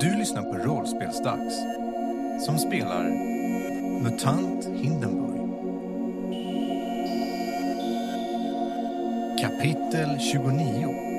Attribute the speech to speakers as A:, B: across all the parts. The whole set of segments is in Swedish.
A: Du lyssnar på Rollspelsdags som spelar MUTANT Hindenburg. Kapitel 29.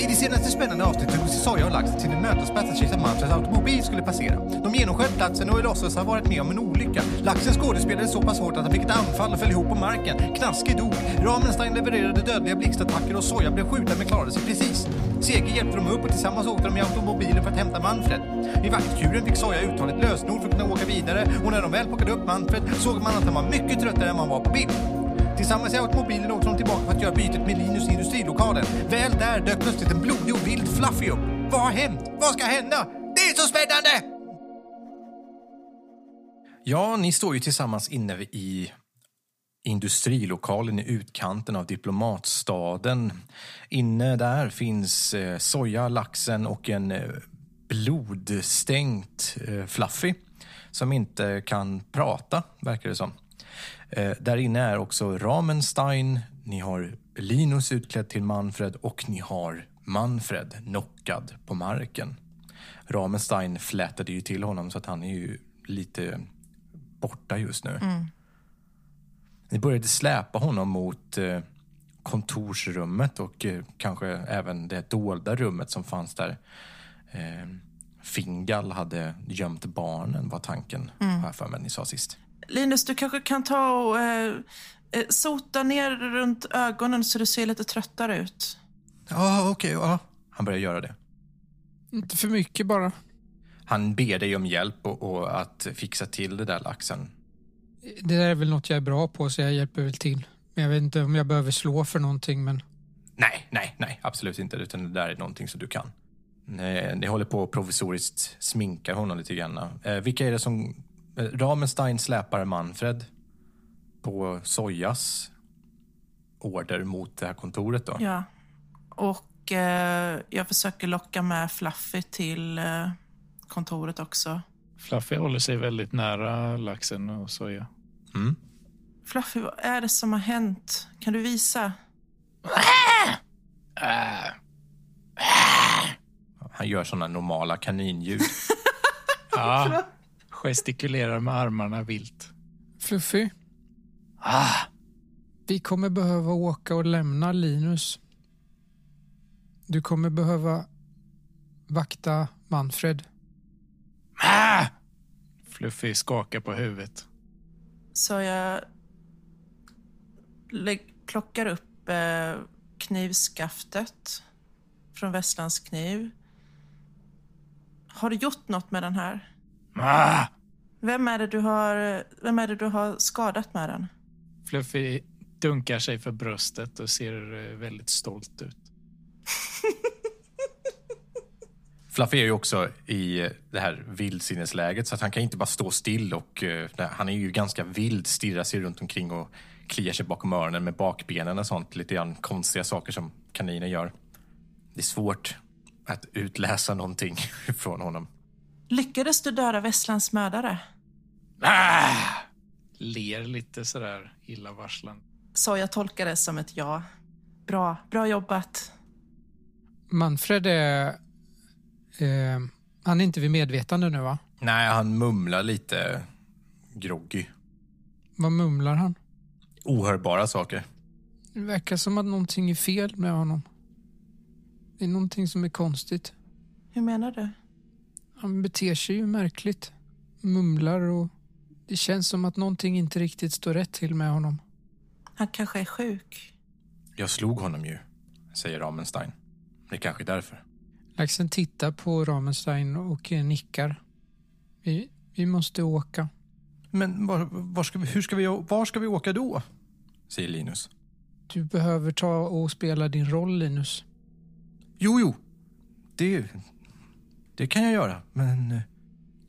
A: I det senaste spännande avsnittet sa jag och Lax till en mötesplats att Kejsar Manfreds automobil skulle passera. De genomsköt platsen och låtsades ha varit med om en olycka. Laxen skådespelade så pass hårt att han fick ett anfall och föll ihop på marken. Knaskig dog. Ramenstein levererade dödliga blixtattacker och Soja blev skjuten men klarade sig precis. Seger hjälpte dem upp och tillsammans åkte de i automobilen för att hämta Manfred. I vaktkuren fick Soja uttala ett lösenord för att kunna åka vidare och när de väl plockade upp Manfred såg man att han var mycket tröttare än man var på bild. Tillsammans i automobilen åkte de tillbaka för att göra bytet med Linus i industrilokalen. Väl där dök plötsligt en blodig och vild Fluffy upp. Vad har hänt? Vad ska hända? Det är så spännande! Ja, ni står ju tillsammans inne i industrilokalen i utkanten av diplomatstaden. Inne där finns eh, soja, laxen och en eh, blodstänkt eh, Fluffy som inte kan prata, verkar det som. Eh, där inne är också Ramenstein, ni har Linus utklädd till Manfred och ni har Manfred knockad på marken. Ramenstein flätade ju till honom så att han är ju lite borta just nu. Ni började släpa honom mot eh, kontorsrummet och eh, kanske även det dolda rummet som fanns där. Eh, Fingal hade gömt barnen var tanken, har jag för mig ni sa sist.
B: Linus, du kanske kan ta och eh, eh, sota ner runt ögonen så du ser lite tröttare ut.
A: Ja, okej, ja. Han började göra det.
C: Inte för mycket bara.
A: Han ber dig om hjälp och, och att fixa till det där laxen.
C: Det där är väl något jag är bra på så jag hjälper väl till. Men jag vet inte om jag behöver slå för någonting men
A: Nej, nej, nej, absolut inte. Utan det där är någonting som du kan. Nej, ni håller på och provisoriskt sminkar honom lite grann. Eh, vilka är det som... Eh, Ramenstein släpar Manfred på Sojas order mot det här kontoret då.
B: Ja. Och eh, jag försöker locka med Fluffy till eh, kontoret också.
D: Fluffy håller sig väldigt nära laxen och soja.
A: Mm.
B: Fluffy, vad är det som har hänt? Kan du visa?
A: Han gör sådana normala kaninljud.
D: Ah, gestikulerar med armarna vilt.
C: Fluffy,
D: Ah,
C: vi kommer behöva åka och lämna Linus. Du kommer behöva vakta Manfred.
D: ah! Fluffy skakar på huvudet.
B: Så jag lä- plockar upp eh, knivskaftet från Västlands kniv. Har du gjort något med den här?
D: Ah!
B: Vem är det du har, vem är det du har skadat med den?
D: Fluffy dunkar sig för bröstet och ser eh, väldigt stolt ut.
A: Fluffy är ju också i eh, det här vildsinnesläget så att han kan inte bara stå still och eh, nej, han är ju ganska vild, stirrar sig runt omkring och kliar sig bakom öronen med bakbenen och sånt. Lite grann konstiga saker som kaniner gör. Det är svårt att utläsa någonting från honom.
B: Lyckades du döda Västlands mördare?
D: Ah! Ler lite sådär illavarslande.
B: Så jag tolkar det som ett ja. Bra, bra jobbat.
C: Manfred är... Eh, han är inte vid medvetande nu va?
A: Nej, han mumlar lite groggy.
C: Vad mumlar han?
A: Ohörbara saker.
C: Det verkar som att någonting är fel med honom. Det är någonting som är konstigt.
B: Hur menar du?
C: Han beter sig ju märkligt. Mumlar och det känns som att någonting inte riktigt står rätt till med honom.
B: Han kanske är sjuk.
A: Jag slog honom ju, säger Ramenstein. Det är kanske är därför.
C: Laxen tittar på Ramenstein och eh, nickar. Vi, vi måste åka.
A: Men var, var, ska vi, hur ska vi, var ska vi åka då? Säger Linus.
C: Du behöver ta och spela din roll, Linus.
A: Jo, jo. Det, det kan jag göra. Men eh,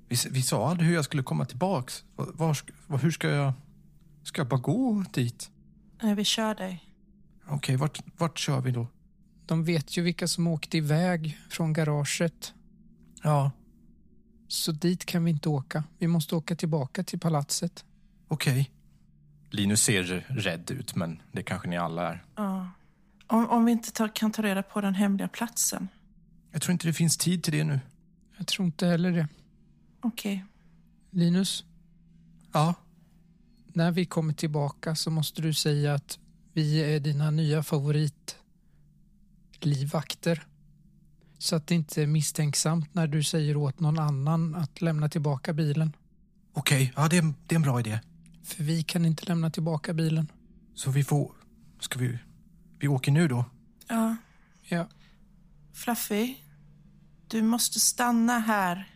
A: vi, s- vi sa aldrig hur jag skulle komma tillbaks. Var, var, sk- var, hur ska jag... Ska jag bara gå dit?
B: Nej, vi kör dig.
A: Okej, vart, vart kör vi då?
C: De vet ju vilka som åkte iväg från garaget.
A: Ja,
C: Så dit kan vi inte åka. Vi måste åka tillbaka till palatset.
A: okej. Linus ser rädd ut, men det kanske ni alla är.
B: Ja. Om, om vi inte tar, kan ta reda på den hemliga platsen.
A: Jag tror inte det finns tid till det nu.
C: Jag tror inte heller det.
B: Okej.
C: Linus,
A: Ja,
C: när vi kommer tillbaka så måste du säga att vi är dina nya favoritlivvakter. Så att det inte är misstänksamt när du säger åt någon annan att lämna tillbaka bilen.
A: okej. Ja, det är, det är en bra idé.
C: För vi kan inte lämna tillbaka bilen.
A: Så vi får... Ska vi... Vi åker nu då.
B: Ja.
C: Ja.
B: Fluffy, du måste stanna här,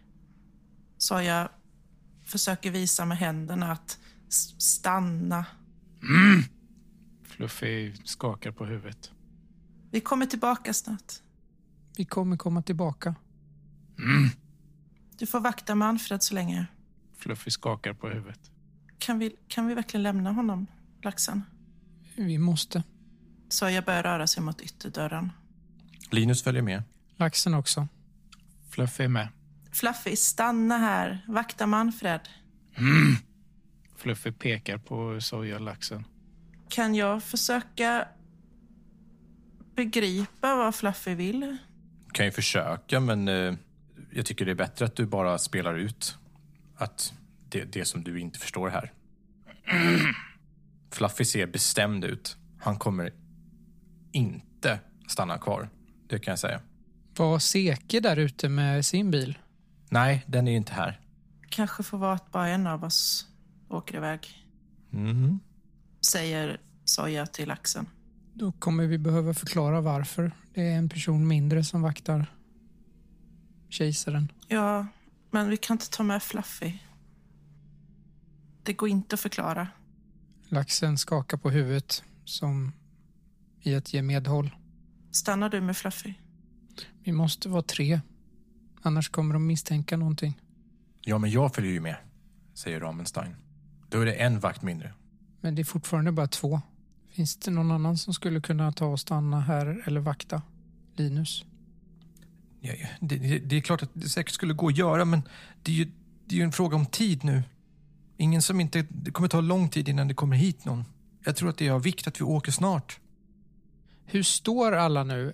B: sa jag. Försöker visa med händerna att s- stanna.
D: Fluffy skakar på huvudet.
B: Vi kommer tillbaka snart.
C: Vi kommer komma tillbaka.
B: Du får vakta Manfred så länge.
D: Fluffy skakar på huvudet.
B: Kan vi, kan vi verkligen lämna honom, laxen?
C: Vi måste.
B: Så jag börjar röra sig mot ytterdörren.
A: Linus följer med.
C: Laxen också.
D: Fluffy är med.
B: Fluffy, stanna här. Vakta Manfred.
D: Fluffy pekar på sojalaxen.
B: Kan jag försöka begripa vad Fluffy vill?
A: kan ju försöka, men eh, jag tycker det är bättre att du bara spelar ut att det, det som du inte förstår här. Fluffy ser bestämd ut. Han kommer inte stanna kvar. Det kan jag säga.
C: Var Seke där ute med sin bil?
A: Nej, den är inte här.
B: Kanske får vara att bara en av oss åker iväg,
A: Mhm.
B: säger Soja till laxen.
C: Då kommer vi behöva förklara varför det är en person mindre som vaktar kejsaren.
B: Ja, men vi kan inte ta med Fluffy. Det går inte att förklara.
C: Laxen skakar på huvudet som i att ge medhåll.
B: Stannar du med Fluffy?
C: Vi måste vara tre, annars kommer de misstänka någonting.
A: Ja, men jag följer ju med, säger Ramenstein. Då är det en vakt mindre.
C: Men det är fortfarande bara två. Finns det någon annan som skulle kunna ta och stanna här eller vakta? Linus?
A: Ja, ja, det, det, det är klart att det säkert skulle gå att göra, men det är ju, det är ju en fråga om tid nu. Ingen som inte... Det kommer ta lång tid innan det kommer hit någon. Jag tror att det är av vikt att vi åker snart.
C: Hur står alla nu?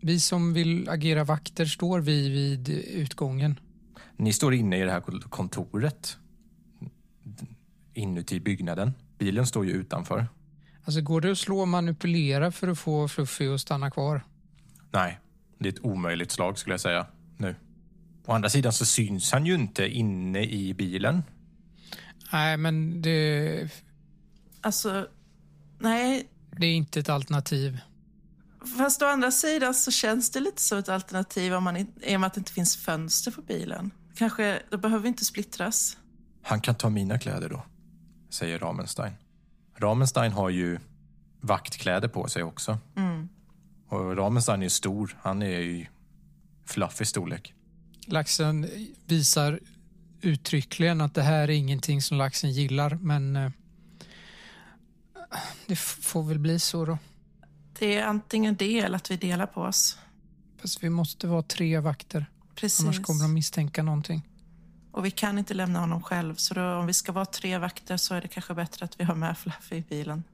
C: Vi som vill agera vakter, står vi vid utgången?
A: Ni står inne i det här kontoret. Inuti byggnaden. Bilen står ju utanför.
C: Alltså går det att slå och manipulera för att få Fluffy att stanna kvar?
A: Nej, det är ett omöjligt slag skulle jag säga nu. Å andra sidan så syns han ju inte inne i bilen.
C: Nej, men det,
B: Alltså, nej.
C: det är inte ett alternativ.
B: Fast å andra sidan så känns det lite som ett alternativ om man in, i och med att det inte finns fönster på bilen. Kanske, då behöver vi inte splittras.
A: Han kan ta mina kläder då, säger Ramenstein. Ramenstein har ju vaktkläder på sig också.
B: Mm.
A: Och Ramenstein är ju stor. Han är ju fluffig storlek.
C: Laxen visar uttryckligen att det här är ingenting som laxen gillar, men eh, det f- får väl bli så då.
B: Det är antingen det eller att vi delar på oss.
C: Fast vi måste vara tre vakter,
B: Precis.
C: annars kommer de misstänka någonting.
B: Och vi kan inte lämna honom själv, så då, om vi ska vara tre vakter så är det kanske bättre att vi har med Fluffy i bilen.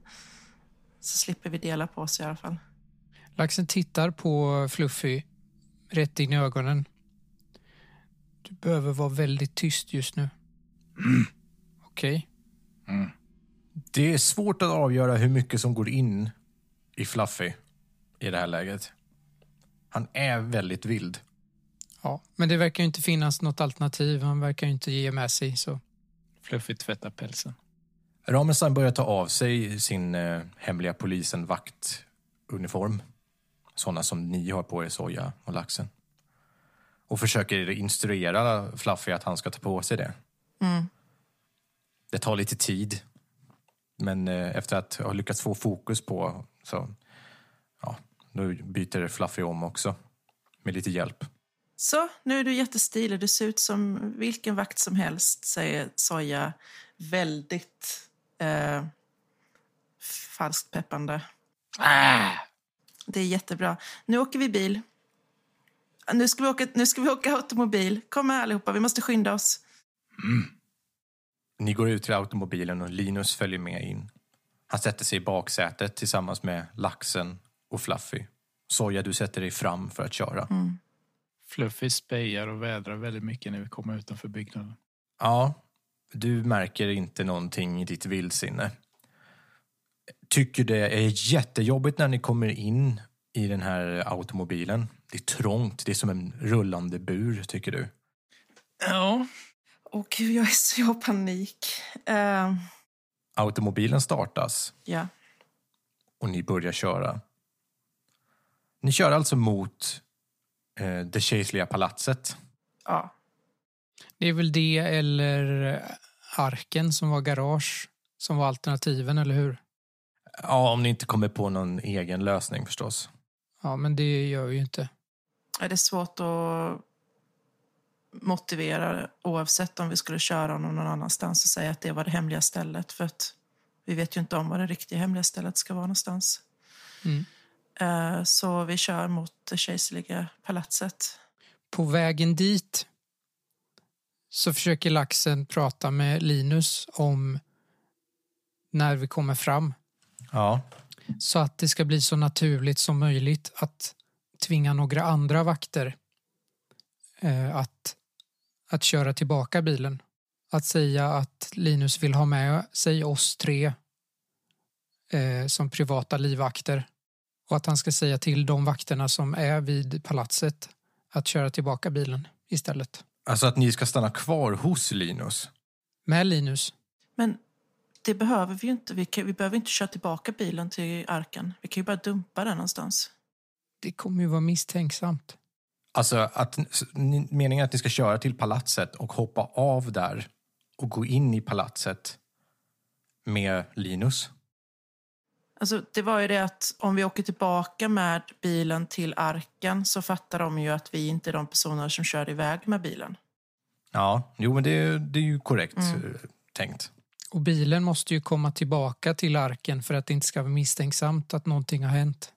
B: Så slipper vi dela på oss i alla fall.
C: Laxen tittar på Fluffy rätt in i ögonen. Du behöver vara väldigt tyst just nu. Okej.
A: Det är svårt att avgöra hur mycket som går in i Fluffy i det här läget. Han är väldigt vild.
C: Ja, men det verkar ju inte finnas något alternativ. Han verkar ju inte ge med sig. Så.
D: Fluffy tvättar pälsen.
A: Ramenstein börjar ta av sig sin eh, hemliga polisen vaktuniform. Sådana som ni har på er, soja och laxen. Och försöker instruera Fluffy att han ska ta på sig det.
B: Mm.
A: Det tar lite tid. Men eh, efter att ha lyckats få fokus på så... Ja, nu byter Fluffy om också. Med lite hjälp.
B: Så, nu är du jättestilig. Du ser ut som vilken vakt som helst, säger Soja väldigt eh, falskt peppande. Det är jättebra. Nu åker vi bil. Nu ska vi åka, nu ska vi åka automobil. Kom med allihopa, vi måste skynda oss.
A: Ni går ut till automobilen och Linus följer med in. Han sätter sig i baksätet
B: Mm.
A: tillsammans med laxen och Fluffy. Soja, du sätter dig fram för att köra.
D: Fluffy spejar och vädrar väldigt mycket när vi kommer utanför byggnaden.
A: Ja, du märker inte någonting i ditt vildsinne. Tycker det är jättejobbigt när ni kommer in i den här automobilen. Det är trångt, det är som en rullande bur, tycker du.
D: Ja,
B: Åh gud, jag är så jag har panik. Eh,
A: Automobilen startas
B: ja.
A: och ni börjar köra. Ni kör alltså mot eh, det kejserliga palatset.
B: ja.
C: Det är väl det eller eh, arken som var garage som var alternativen, eller hur?
A: Ja, om ni inte kommer på någon egen lösning förstås.
C: Ja, men det gör vi ju inte.
B: Är det svårt att motivera oavsett om vi skulle köra honom någon annanstans och säga att det var det hemliga stället? För att vi vet ju inte om var det riktiga hemliga stället ska vara någonstans.
C: Mm.
B: Eh, Så vi kör mot det kejserliga palatset.
C: På vägen dit så försöker laxen prata med Linus om när vi kommer fram
A: Ja,
C: så att det ska bli så naturligt som möjligt att tvinga några andra vakter eh, att, att köra tillbaka bilen. Att säga att Linus vill ha med sig oss tre eh, som privata livvakter och att han ska säga till de vakterna som är vid palatset att köra tillbaka bilen istället.
A: alltså att ni ska stanna kvar hos Linus.
C: Med Linus.
B: Men det behöver vi ju inte. Vi, kan, vi behöver inte köra tillbaka bilen till arken. Vi kan ju bara dumpa den någonstans.
C: Det kommer ju vara misstänksamt.
A: Alltså att s- ni- meningen är att ni ska köra till palatset och hoppa av där och gå in i palatset med Linus.
B: Alltså, det var ju det att om vi åker tillbaka med bilen till arken så fattar de ju att vi inte är de personer som kör iväg med bilen.
A: Ja, jo men det, det är ju korrekt eh, tänkt.
C: Och bilen måste ju komma tillbaka till arken för att det inte ska vara misstänksamt att någonting har hänt.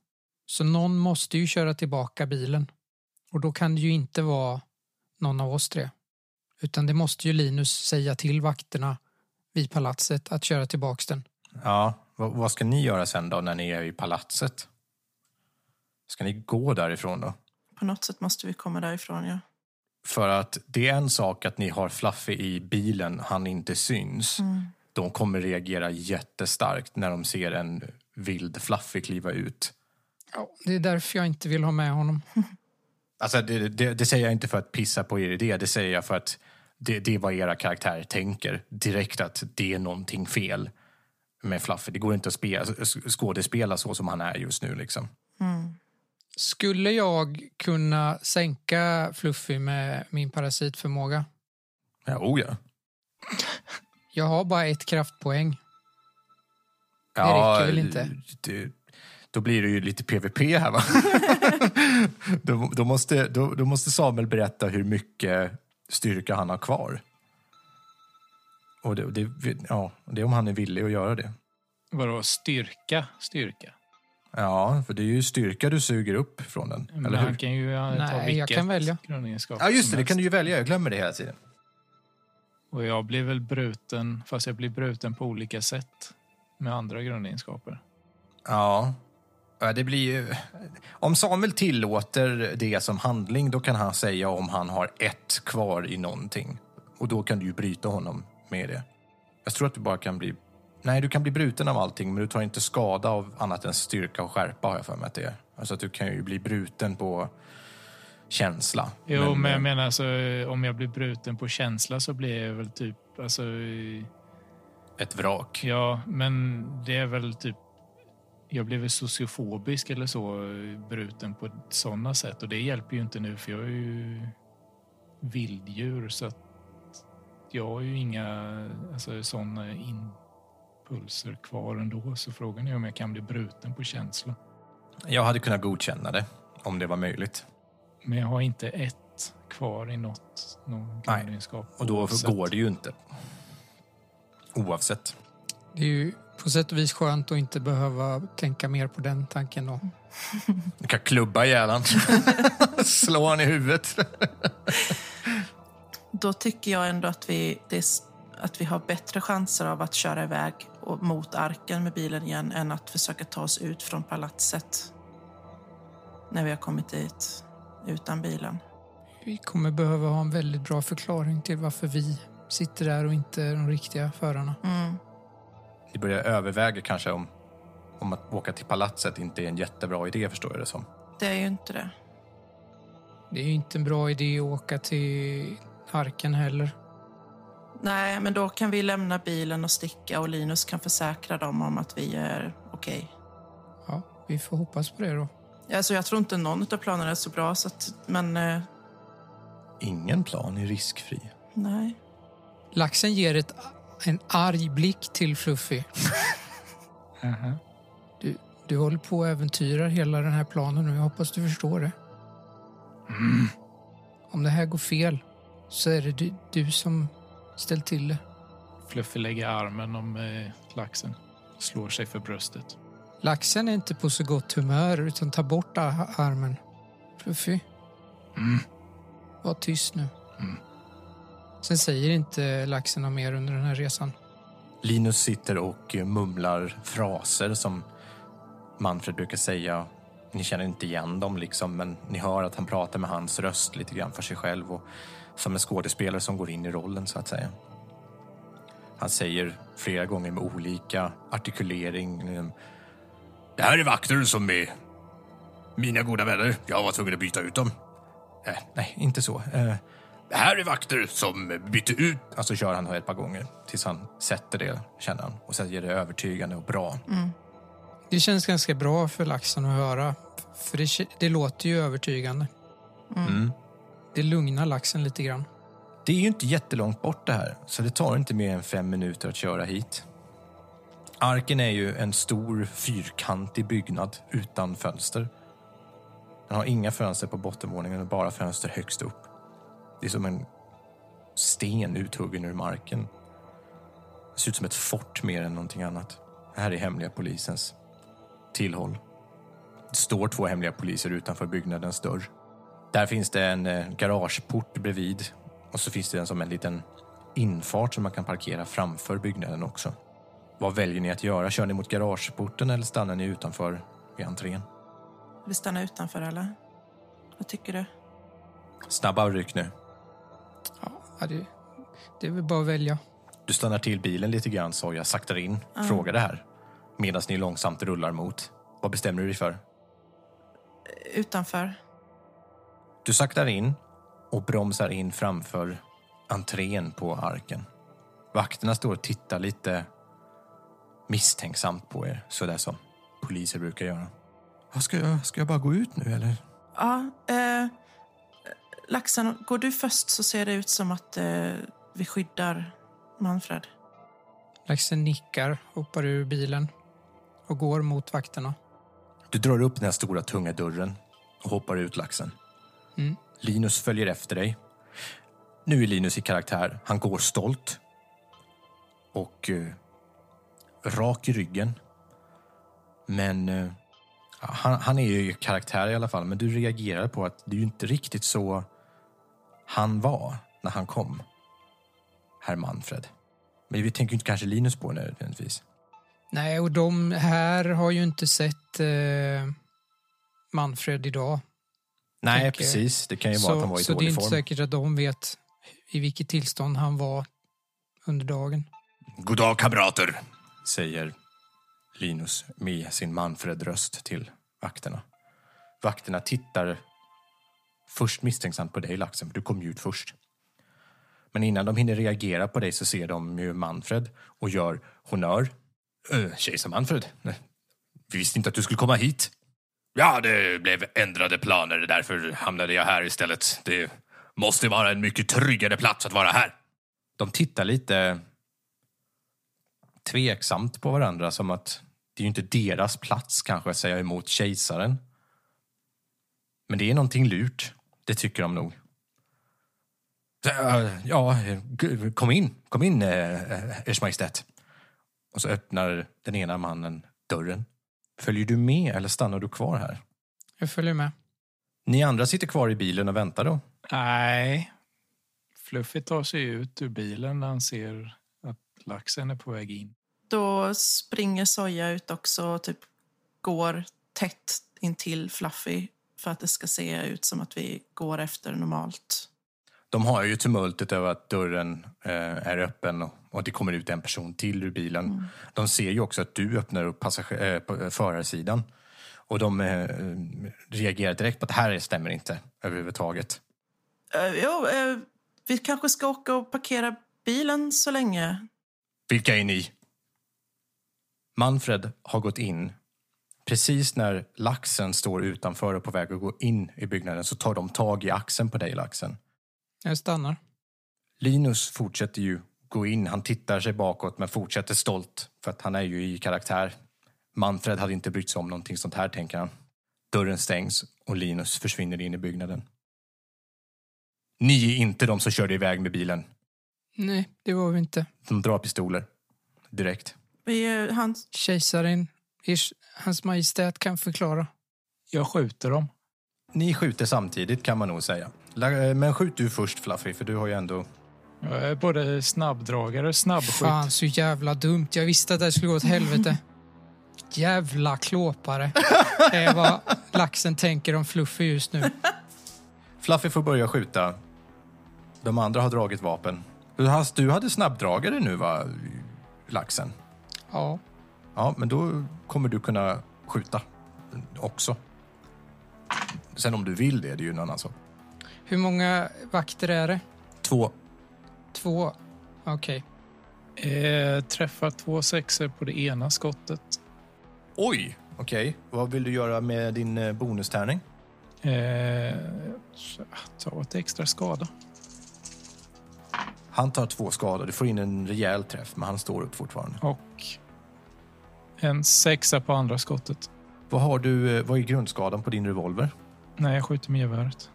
C: Så någon måste ju köra tillbaka bilen. Och då kan det ju inte vara någon av oss tre. Utan det måste ju Linus säga till vakterna vid palatset att köra tillbaks den.
A: Ja, vad, vad ska ni göra sen då när ni är i palatset? Ska ni gå därifrån då?
B: På något sätt måste vi komma därifrån, ja.
A: För att det är en sak att ni har Fluffy i bilen, han inte syns. De kommer reagera jättestarkt när de ser en vild Fluffy kliva ut.
C: Ja, det är därför jag inte vill ha med honom.
A: Alltså det, det, det säger jag inte för att pissa på er idé, det säger jag för att det, det är vad era karaktärer tänker direkt att det är någonting fel med Fluffy. Det går inte att spela, sk- skådespela så som han är just nu liksom.
C: Skulle jag kunna sänka Fluffy med min parasitförmåga?
A: Ja, oh ja.
C: Jag har bara ett kraftpoäng.
A: Det
C: räcker väl inte?
A: Det, då blir det ju lite PVP här va? då, då, måste, då, då måste Samuel berätta hur mycket styrka han har kvar. Och det, det, ja, det är om han är villig att göra det.
D: vadå styrka? Styrka?
A: Ja, för det är ju styrka du suger upp från den,
D: Men
A: eller hur?
D: han kan ju eh, ta
C: Nej, jag
D: vilket
C: kan välja.
D: grundegenskap
A: Ja, just
D: som
A: det, det
D: helst.
A: kan du ju välja. Jag glömmer det hela tiden.
D: Och jag blir väl bruten, fast jag blir bruten på olika sätt med andra grundegenskaper.
A: Ja. Ja, Det blir ju... Om Samuel tillåter det som handling då kan han säga om han har ett kvar i någonting. Och då kan du ju bryta honom med det. Jag tror att du bara kan bli... Nej, du kan bli bruten av allting men du tar inte skada av annat än styrka och skärpa har jag för mig att det är. Alltså att du kan ju bli bruten på känsla.
D: Jo, men, jag menar alltså, eh, om jag blir bruten på känsla så blir jag väl typ, alltså, eh,
A: Ett vrak.
D: ja, men det är väl typ, jag blev väl sociofobisk eller så, eh, bruten på sådana sätt. Och det hjälper ju inte nu för jag är ju vilddjur så att jag har ju inga alltså, sådana impulser kvar ändå. Så frågan är om jag kan bli bruten på känsla.
A: Jag hade kunnat godkänna det om det var möjligt.
D: Men jag har inte ett kvar i något, någon
A: Nej.
D: grundegenskap.
A: Och då
D: Så
A: går det ju inte. Oavsett.
C: Det är ju på sätt och vis skönt att inte behöva tänka mer på den tanken då.
A: Du kan klubba ihjäl han. Slå han i huvudet.
B: Då tycker jag ändå att vi, det, är s- att vi har bättre chanser av att köra iväg och mot arken med bilen igen än att försöka ta oss ut från palatset när vi har kommit dit utan bilen.
C: Vi kommer behöva ha en väldigt bra förklaring till varför vi sitter där och inte de riktiga förarna.
B: Mm.
A: Ni börjar överväga kanske om, om att åka till palatset inte är en jättebra idé, förstår jag det som.
B: Det är ju inte det.
C: Det är ju inte en bra idé att åka till Harken heller.
B: Nej, men då kan vi lämna bilen och sticka och Linus kan försäkra dem om att vi är okej.
C: Ja, vi får hoppas på det då.
B: Alltså, jag tror inte någon av planerna är så bra, så att, men eh,
A: Ingen plan är riskfri.
B: nej.
C: Laxen ger ett, en arg blick till Fluffy.
D: Aha.
C: Du, du håller på och äventyrar hela den här planen nu. Jag hoppas du förstår det. Om det här går fel så är det du, du som ställt till det.
D: Fluffy lägger armen om eh, laxen. Slår sig för bröstet.
C: Laxen är inte på så gott humör utan tar bort a- armen. Fluffy,
D: Mm.
C: var tyst nu.
D: Mm.
C: Sen säger inte laxen något mer under den här resan.
A: Linus sitter och eh, mumlar fraser som Manfred brukar säga. Ni känner inte igen dem, liksom, men ni hör att han pratar med hans röst lite grann för sig själv och som en skådespelare som går in i rollen, så att säga. Han säger flera gånger med olika artikulering. eh, Det här är vakter som är mina goda vänner. Jag var tvungen att byta ut dem. Eh, nej, inte så. Eh, det här är vakter som bytte ut... Alltså kör han ett par gånger tills han sätter det, känner han. Och sen ger det övertygande och bra.
C: Det känns ganska bra för laxen att höra. För det, k- det låter ju övertygande.
A: Mm.
C: Det lugnar laxen lite grann.
A: Det är ju inte jättelångt bort det här, så det tar inte mer än fem minuter att köra hit. Arken är ju en stor fyrkantig byggnad utan fönster. Den har inga fönster på bottenvåningen och bara fönster högst upp. Det är som en sten uthuggen ur marken. Det ser ut som ett fort mer än någonting annat. Det här är hemliga polisens tillhåll. Det står två hemliga poliser utanför byggnadens dörr. Där finns det en eh, garageport bredvid och så finns det en som en liten infart som man kan parkera framför byggnaden också. Vad väljer ni att göra? Kör ni mot garageporten eller stannar ni utanför vid entrén?
B: Vi stannar utanför, eller? Vad tycker du?
A: Snabba ryck nu.
C: Ja, det, det är väl bara att välja.
A: Du stannar till bilen lite grann, så jag saktar in, frågar det här. Medan ni långsamt rullar mot. Vad bestämmer du dig för?
B: Utanför?
A: Du saktar in och bromsar in framför entrén på arken. Vakterna står och tittar lite misstänksamt på er, sådär som poliser brukar göra. Vad ska, jag, ska jag bara gå ut nu eller?
B: Ja. Eh, Laxan, går du först så ser det ut som att eh, vi skyddar Manfred.
C: Laxen nickar, hoppar ur bilen och går mot vakterna.
A: Du drar upp den här stora tunga dörren och hoppar ut laxen.
C: Mm.
A: Linus följer efter dig. Nu är Linus i karaktär. Han går stolt och eh, rak i ryggen. Men eh, han, han är ju i karaktär i alla fall. Men du reagerar på att det är ju inte riktigt så han var när han kom, herr Manfred. Men vi tänker ju inte kanske Linus på nödvändigtvis.
C: Nej, och de här har ju inte sett eh, Manfred idag.
A: Nej,
C: Tänker-
A: precis. Det kan ju vara att han
C: Så,
A: var i
C: så det är
A: dålig
C: inte
A: form.
C: säkert att de vet i vilket tillstånd han var under dagen.
A: God dag, kamrater, säger Linus med sin Manfred-röst till vakterna. Vakterna tittar först misstänksamt på dig, Laxen, för du kom ju ut först. Men innan de hinner reagera på dig så ser de ju Manfred och gör honör. "Eh, Kejsar Manfred, nej, vi visste inte att du skulle komma hit. Ja, det blev ändrade planer, därför hamnade jag här istället. Det måste vara en mycket tryggare plats att vara här. De tittar lite tveksamt på varandra som att det är ju inte deras plats kanske att säga emot kejsaren. Men det är någonting lurt, det tycker de nog. Så, eh, Ja, eh, g- kom in, kom in, eh, eh, Ers Majestät. Och så öppnar den ena mannen dörren. Följer du med eller stannar du kvar här?
C: Jag följer med.
A: Ni andra sitter kvar i bilen och väntar då.
D: Nej. Fluffy tar sig ut ur bilen när han ser att laxen är på väg in.
B: Då springer Soja ut också och typ går tätt intill Fluffy för att det ska se ut som att vi går efter normalt.
A: De har ju tumultet över att dörren eh, är öppen och, och att det kommer ut en person till ur bilen. De ser ju också att du öppnar upp passager- eh, på- eh, förarsidan. Och de eh, eh, reagerar direkt på att det här stämmer inte överhuvudtaget.
B: Eh, jo, eh, vi kanske ska åka och parkera bilen så länge.
A: Vilka är ni? Manfred har gått in. Precis när laxen står utanför och på väg att gå in i byggnaden så tar de tag i axeln på dig, laxen.
C: Jag stannar.
A: Linus fortsätter ju gå in. Han tittar sig bakåt men fortsätter stolt för att han är ju i karaktär. Manfred hade inte brytt sig om någonting sånt här, tänker han. Dörren stängs och Linus försvinner in i byggnaden. Ni är inte de som körde iväg med bilen.
C: Nej, det var vi inte.
A: De drar pistoler. Direkt.
B: Vi, eh, han,
C: Kejsaren, ish, hans majestät kan förklara.
D: Jag skjuter dem.
A: Ni skjuter samtidigt kan man nog säga. La- eh, Men skjut du först Fluffy, för du har ju ändå...
D: Jag är både snabbdragare och snabbskytt.
C: Fan, så jävla dumt. Jag visste att det här skulle gå åt helvete. Jävla klåpare. Det är vad laxen tänker om Fluffy just nu.
A: Fluffy får börja skjuta. De andra har dragit vapen. Du hast- Du hade snabbdragare nu va, laxen?
C: Ja,
A: Ja, men då kommer du kunna skjuta också. Sen om du vill det, det är ju en annan sak.
C: hur många vakter är det?
A: Två.
C: Två? Okej.
D: Eh, träffar två sexer på det ena skottet.
A: Oj! Okej, vad vill du göra med din eh, bonustärning?
D: Eh, så, ta ett extra skada.
A: Han tar två skador. Du får in en rejäl träff, men han står upp fortfarande.
D: Och en sexa på andra skottet.
A: Vad har du, eh, vad är grundskadan på din revolver?
D: Nej, jag skjuter med geväret.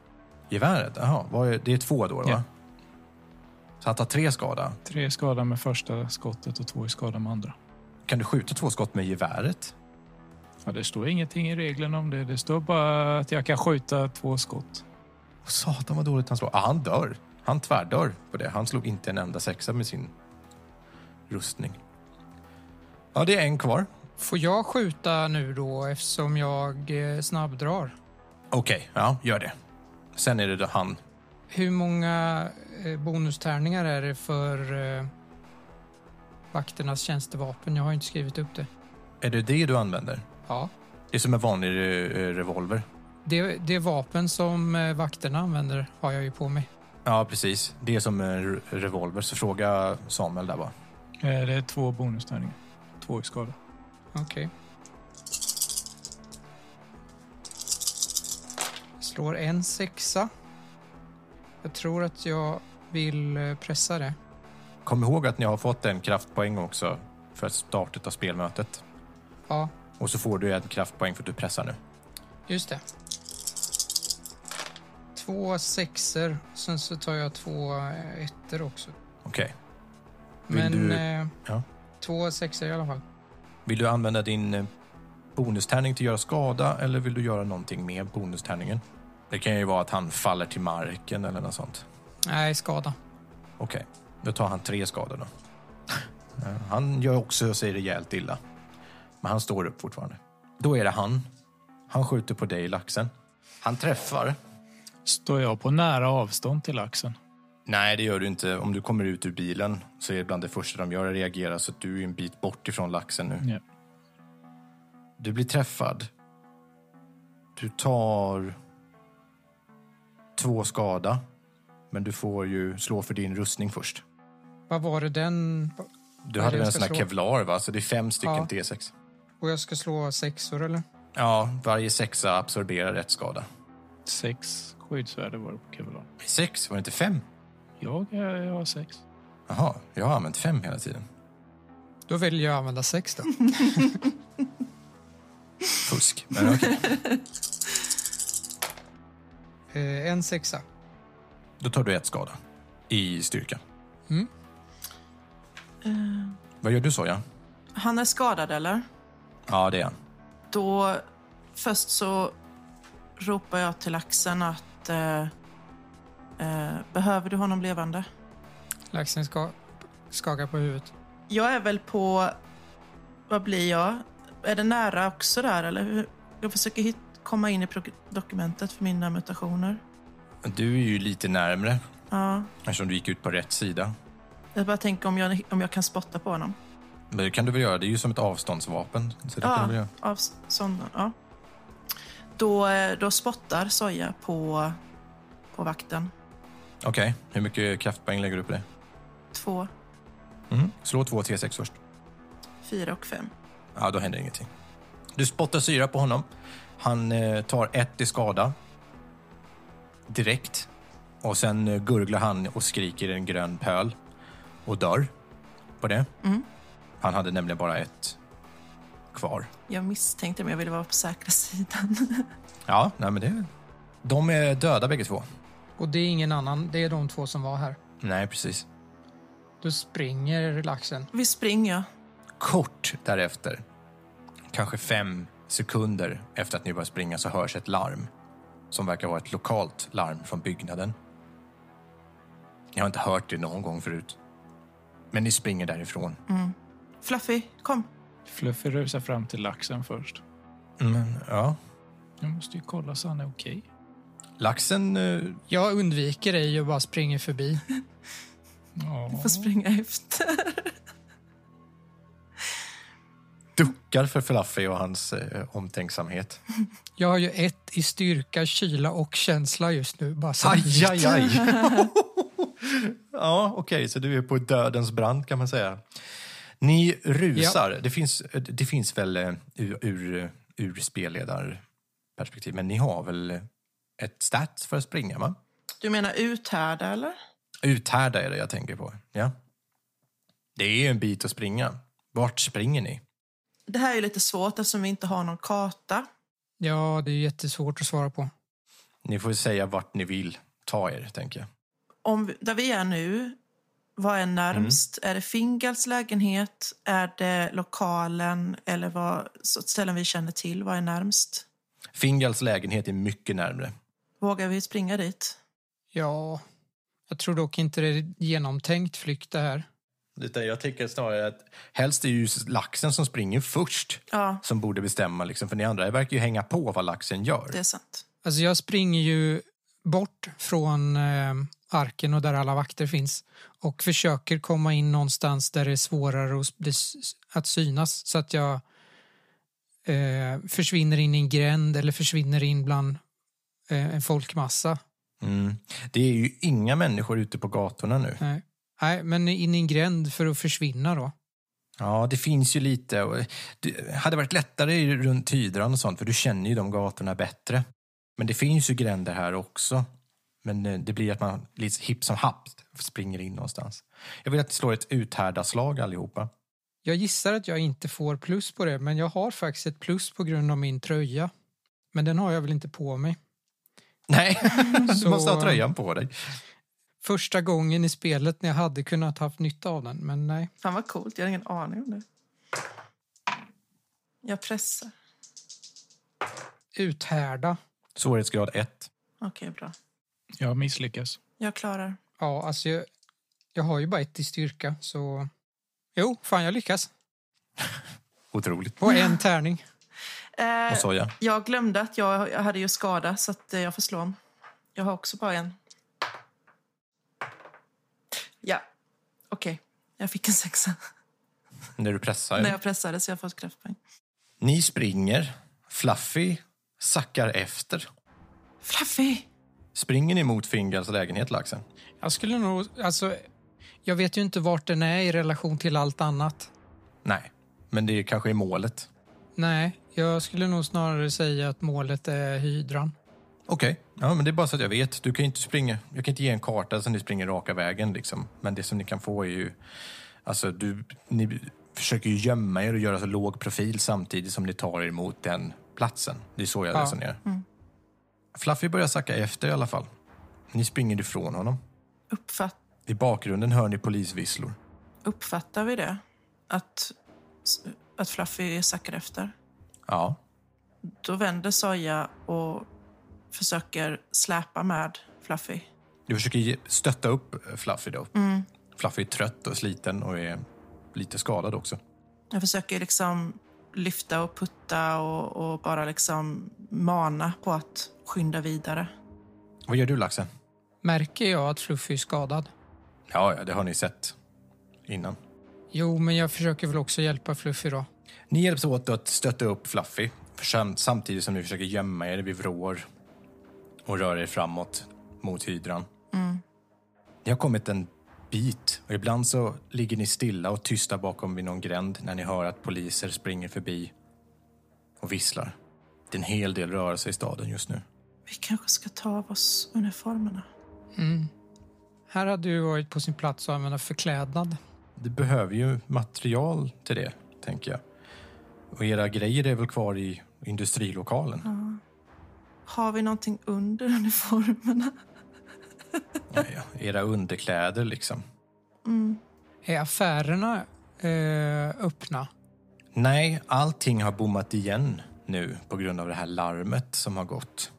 A: Geväret? Jaha, vad är- det är två då, va?
D: Ja.
A: Så han tar tre skada.
D: Tre skada med första skottet och två i skada med andra.
A: Kan du skjuta två skott med geväret?
D: Ja, det står ingenting i reglerna om det. Det står bara att jag kan skjuta två skott.
A: Åh, satan vad dåligt han slår. Ah, han dör. Han tvärdör på det. Han slog inte en enda sexa med sin rustning. Ja, det är en kvar.
C: Får jag skjuta nu då eftersom jag eh, snabbdrar?
A: Okej, ja, gör det. Sen är det då han.
C: Hur många eh, bonustärningar är det för eh, vakternas tjänstevapen? Jag har inte skrivit upp det.
A: Är det det du använder?
C: Ja.
A: Det är som en vanlig eh, revolver.
C: Det, det vapen som eh, vakterna använder har jag ju på mig.
A: Ja, precis. Det är som en re- revolver. Så fråga Samuel där bara.
D: Eh, det är två bonustärningar. Två i skada.
C: Okej. Slår en sexa. Jag tror att jag vill eh, pressa det.
A: Kom ihåg att ni har fått en kraftpoäng också för startet av spelmötet.
C: Ja,
A: Och så får du en kraftpoäng för att du pressar nu.
C: just det. Två sexer, sen så tar jag två eh, ettor också.
A: Okej. Vill
C: Men
A: du-
C: eh,
A: ja.
C: två sexor i alla fall.
A: Vill du använda din eh, bonustärning till att göra skada eller vill du göra någonting med bonustärningen? Det kan ju vara att han faller till marken eller något sånt.
C: Nej, skada.
A: Okej, då tar han tre skador då. Eh, Han gör också sig rejält illa. Men han står upp fortfarande. Då är det han. Han skjuter på dig, laxen. Han träffar.
D: Står jag på nära avstånd till axeln?
A: Nej, det gör du inte. Om du kommer ut ur bilen så är det bland det första de gör att reagera så att du är en bit bort ifrån laxen nu.
D: Ja.
A: Du blir träffad. Du tar två skada. Men du får ju slå för din rustning först.
C: Vad var det den...
A: Du
C: Vad är
A: hade
C: det
A: väl
C: jag
A: en
C: ska
A: sån här
C: slå?
A: kevlar, va? Så det är fem stycken
C: Ja.
A: T6.
C: Och jag ska slå sexor eller?
A: Ja, varje sexa absorberar ett skada.
D: Sex skyddsvärde var det på Kevlar.
A: Sex? Var det inte fem?
D: Jag, jag, jag har sex.
A: Jaha, jag har använt fem hela tiden.
C: Då väljer jag att använda sex då.
A: Fusk. Men okej.
C: eh, en sexa.
A: Då tar du ett skada i styrka.
C: Mm.
B: eh,
A: Vad gör du, Soja?
B: han är skadad eller?
A: Ja, det är han.
B: Då först så ropar jag till Axeln att eh, eh, behöver du honom levande?
C: Laxen ska, skakar på huvudet.
B: Jag är väl på, vad blir jag? Är det nära också där eller? hur- Jag försöker hit, komma in i pro- dokumentet för mina mutationer.
A: Du är ju lite närmre
B: Ja,
A: eftersom du gick ut på rätt sida.
B: jag bara tänker om jag, om jag kan spotta på honom.
A: Men det kan du väl göra? Det är ju som ett avståndsvapen. Så det kan du väl
B: Ja,
A: göra.
B: av s- sån, ja. Då, eh, då spottar Soja på, på vakten.
A: Okej, hur mycket kraftpoäng lägger du på det?
B: Två,
A: Mm. Slå två T6 först.
B: fyra och fem.
A: Ja, då händer ingenting. Du spottar syra på honom. Han eh, tar ett i skada. Direkt. Och sen eh, gurglar han och skriker en grön pöl. Och dör. På det. Han hade nämligen bara ett kvar.
B: Jag misstänkte men jag ville vara på säkra sidan.
A: Ja, nej men det... De är döda bägge två.
C: Och det är ingen annan, det är de två som var här.
A: Nej, precis.
C: Då springer laxen.
B: Vi springer.
A: Kort därefter, kanske fem sekunder efter att ni börjar springa så hörs ett larm. Som verkar vara ett lokalt larm från byggnaden. Jag har inte hört det någon gång förut. Men ni springer därifrån.
B: Fluffy, kom.
D: Fluffy rusar fram till laxen först.
A: Mm, Men, ja.
D: Jag måste ju kolla så han är okej.
A: Laxen... eh,
C: Jag undviker dig och bara springer förbi.
D: Ja.
B: Får springa efter.
A: duckar för Fluffy och hans eh, omtänksamhet.
C: Jag har ju ett i styrka, kyla och känsla just nu. Bara så.
A: Aj, aj, aj. ja, okej, så du är på dödens brant kan man säga. Ni rusar. Det, finns, det finns väl eh, ur, ur, ur spelledarperspektiv, men ni har väl ett stat för att springa, va?
B: Du menar uthärda eller?
A: Uthärda är det jag tänker på. Ja. Det är ju en bit att springa. Vart springer ni?
B: Det här är ju lite svårt eftersom vi inte har någon karta.
C: Ja, det är jättesvårt att svara på.
A: Ni får säga vart ni vill ta er, tänker jag.
B: Om, vi- där vi är nu, vad är närmst? Är det Fingals lägenhet? Är det lokalen? Eller vad, så ställen vi känner till, vad är närmst?
A: Fingals lägenhet är mycket närmre.
B: Vågar vi springa dit?
C: Ja, jag tror dock inte det är genomtänkt flykt det här.
A: Utan jag tänker snarare att helst är ju laxen som springer först
B: Ja,
A: som borde bestämma. Liksom, för ni andra verkar ju hänga på vad laxen gör.
B: det är sant.
C: Alltså jag springer ju bort från eh, arken och där alla vakter finns och försöker komma in någonstans där det är svårare att, bli, s- att synas så att jag eh, försvinner in i en gränd eller försvinner in bland eh, en folkmassa.
A: Mm. Det är ju inga människor ute på gatorna nu.
C: Nej. Eh, Nej, men in i en gränd för att försvinna då.
A: Ja, det finns ju lite. Och det hade varit lättare runt Hydran och sånt, för du känner ju de gatorna bättre. Men det finns ju gränder här också. Men eh, det blir att man lite hipp som happ springer in någonstans. Jag vill att ni slår ett uthärda slag allihopa.
C: Jag gissar att jag inte får plus på det, men jag har faktiskt ett plus på grund av min tröja. Men den har jag väl inte på mig.
A: Nej, du
C: Så-
A: måste ha tröjan på dig.
C: Första gången i spelet när jag hade kunnat haft nytta av den, men nej.
B: Fan vad coolt, jag har ingen aning om det. Jag pressar.
C: Uthärda.
A: Svårighetsgrad 1.
B: Okej, bra.
D: Jag misslyckas.
B: Jag klarar.
C: Ja, alltså jag, jag har ju bara ett i styrka, så... Jo, fan jag lyckas.
A: Otroligt.
C: På en tärning.
B: Eh,
A: Och soja.
B: Jag glömde att jag, jag hade ju skada så att eh, jag får slå om. Jag har också bara en. Ja, okej. Jag fick en sexa
A: När du pressar.
B: när jag pressade så jag får ett kraftpoäng.
A: Ni springer. Fluffy sackar efter.
B: Fluffy!
A: Springer ni mot Fingals lägenhet, Laxen?
C: Jag skulle nog... Alltså, jag vet ju inte vart den är i relation till allt annat.
A: Nej, men det kanske är målet.
C: Nej, jag skulle nog snarare säga att målet är hydran.
A: Okej, ja, men det är bara så att jag vet. Du kan ju inte springa. Jag kan inte ge en karta så ni springer raka vägen. Liksom. Men det som ni kan få är ju... Alltså, du, ni försöker ju gömma er och göra så låg profil samtidigt som ni tar er mot den platsen. Det är så jag
C: Ja.
A: resonerar. Fluffy börjar sacka efter i alla fall. Ni springer ifrån honom.
B: Uppfatt,
A: I bakgrunden hör ni polisvisslor.
B: uppfattar vi det? Att, att Fluffy sackar efter?
A: Ja,
B: Då vänder Soja och försöker släpa med Fluffy.
A: Du försöker ge- stötta upp eh, Fluffy då. Fluffy är trött och sliten och är lite skadad också.
B: Jag försöker liksom lyfta och putta och, och bara liksom mana på att skynda vidare.
A: Vad gör du Laxen?
C: Märker jag att Fluffy är skadad?
A: Ja, ja, det har ni sett innan.
C: Jo, men jag försöker väl också hjälpa Fluffy då.
A: Ni hjälps åt att stötta upp Fluffy sam- samtidigt som ni försöker gömma er vid vrår och rör er framåt mot hydran. Ni har kommit en bit och ibland så ligger ni stilla och tysta bakom vid någon gränd när ni hör att poliser springer förbi och visslar. Det är en hel del rörelse i staden just nu.
B: Vi kanske ska ta av oss uniformerna.
C: Här hade ju varit på sin plats att använda förklädnad.
A: Du behöver ju material till det, tänker jag. Och era grejer är väl kvar i industrilokalen?
B: Har vi någonting under uniformerna?
A: Nej, era underkläder liksom.
C: Är affärerna eh, öppna?
A: Nej, allting har bommat igen nu på grund av det här larmet som har gått.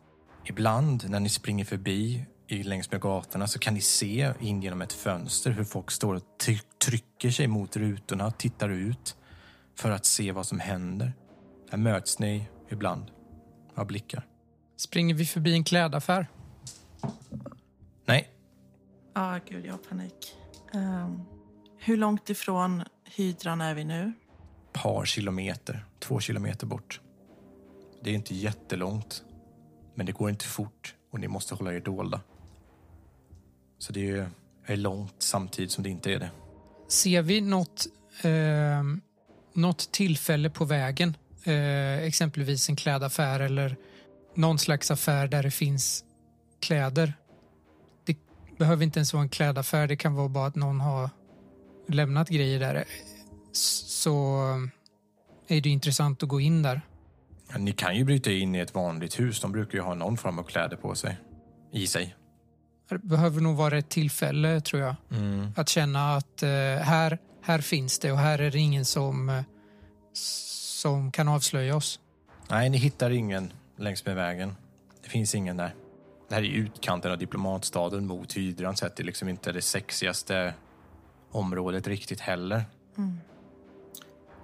A: Ibland när ni springer förbi i- längs med gatorna så kan ni se in genom ett fönster hur folk står och ty- trycker sig mot rutorna och tittar ut för att se vad som händer. Där möts ni ibland av blickar.
C: Springer vi förbi en klädaffär?
A: Nej,
B: Ja, gud, jag har panik. Ehm, hur långt ifrån hydran är vi nu?
A: par kilometer, två kilometer bort. Det är inte jättelångt, men det går inte fort och ni måste hålla er dolda. Så det är- är långt samtidigt som det inte är det.
C: Ser vi något, eh, något tillfälle på vägen? Eh, exempelvis en klädaffär eller någon slags affär där det finns kläder. Det behöver inte ens vara en klädaffär. Det kan vara bara att någon har lämnat grejer där. S- Så eh, är det intressant att gå in där.
A: Ja, Ni kan ju bryta in i ett vanligt hus. De brukar ju ha någon form av kläder på sig. I sig.
C: Det behöver nog vara ett tillfälle, tror jag.
A: Mm.
C: Att känna att eh, här, här finns det och här är det ingen som, eh, som kan avslöja oss.
A: Nej, ni hittar ingen längs med vägen. Det finns ingen där. Det här är utkanten av diplomatstaden mot hydran, så att det är liksom inte det sexigaste området riktigt heller.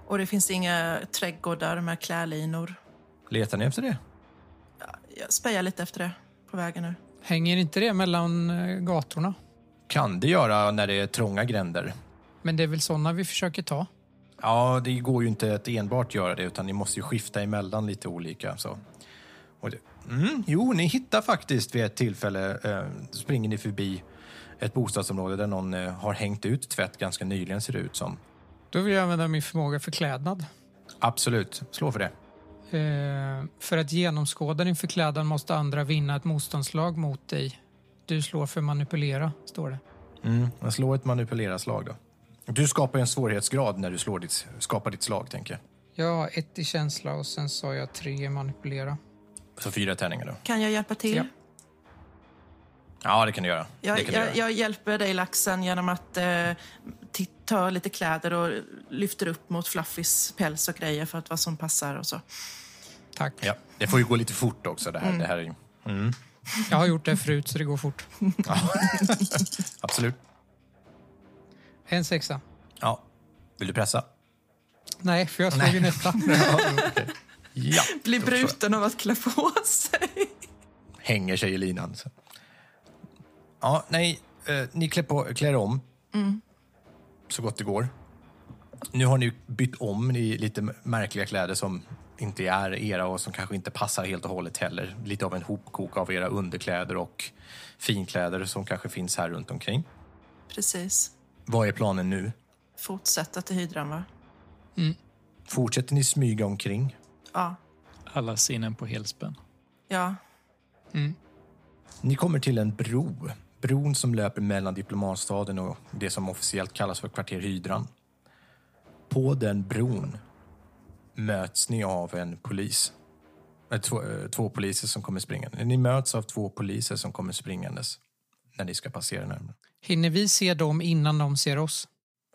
B: Och det finns inga trädgårdar med klälinor.
A: Letar ni efter det?
B: Jag spejar lite efter det på vägen nu.
C: Hänger inte det mellan eh, gatorna?
A: Kan det göra när det är trånga gränder.
C: Men det är väl såna vi försöker ta.
A: Ja, det går ju inte att enbart göra det, utan ni måste ju skifta emellan lite olika. Så. Och det, mm, jo, ni hittar faktiskt vid ett tillfälle, eh, springer ni förbi ett bostadsområde där någon eh, har hängt ut tvätt ganska nyligen, ser det ut som.
C: Då vill jag använda min förmåga förklädnad.
A: Absolut, slå för det.
C: Eh, för att genomskåda din förklädnad måste andra vinna ett motståndslag mot dig. Du slår för manipulera, står det.
A: Mm, men slå ett manipulera-slag då. Du skapar ju en svårighetsgrad när du slår ditt, skapar ditt slag, tänker jag.
C: Jag har ett i känsla och sen sa jag tre i manipulera.
A: Så fyra tärningar då.
B: Kan jag hjälpa till?
C: Ja.
A: Ja, det kan du göra. det
B: Jag,
A: kan du göra.
B: jag, jag hjälper dig, laxen, genom att eh, ti- ta lite kläder och lyfter upp mot Fluffys päls och grejer för att vad som passar och så.
C: Tack.
A: Ja, det får ju gå lite fort också, det här. Det här är, ju-
C: Jag har gjort det förut så det går fort.
A: absolut.
C: En sexa.
A: Ja. Vill du pressa?
C: Nej, för jag slog ju nästa.
A: Ja.
B: Blir
A: Då förstår
B: bruten av att klä på sig.
A: jag. Hänger sig i linan. Så. Ja, nej. Eh, ni klär, på, klär om. Så gott det går. Nu har ni bytt om i lite märkliga kläder som inte är era och som kanske inte passar helt och hållet heller. Lite av en hopkok av era underkläder och finkläder som kanske finns här runt omkring.
B: Precis.
A: Vad är planen nu?
B: Fortsätta till hydran, va?
A: Fortsätter ni smyga omkring?
B: Ja.
D: Alla sinnen på helspänn.
B: Ja.
A: Ni kommer till en bro. Bron som löper mellan diplomatstaden och det som officiellt kallas för kvarter Hydran. På den bron möts ni av en polis. Eh, Två, eh, två poliser som kommer springande. Ni möts av två poliser som kommer springandes när ni ska passera närmare.
C: Hinner vi se dem innan de ser oss?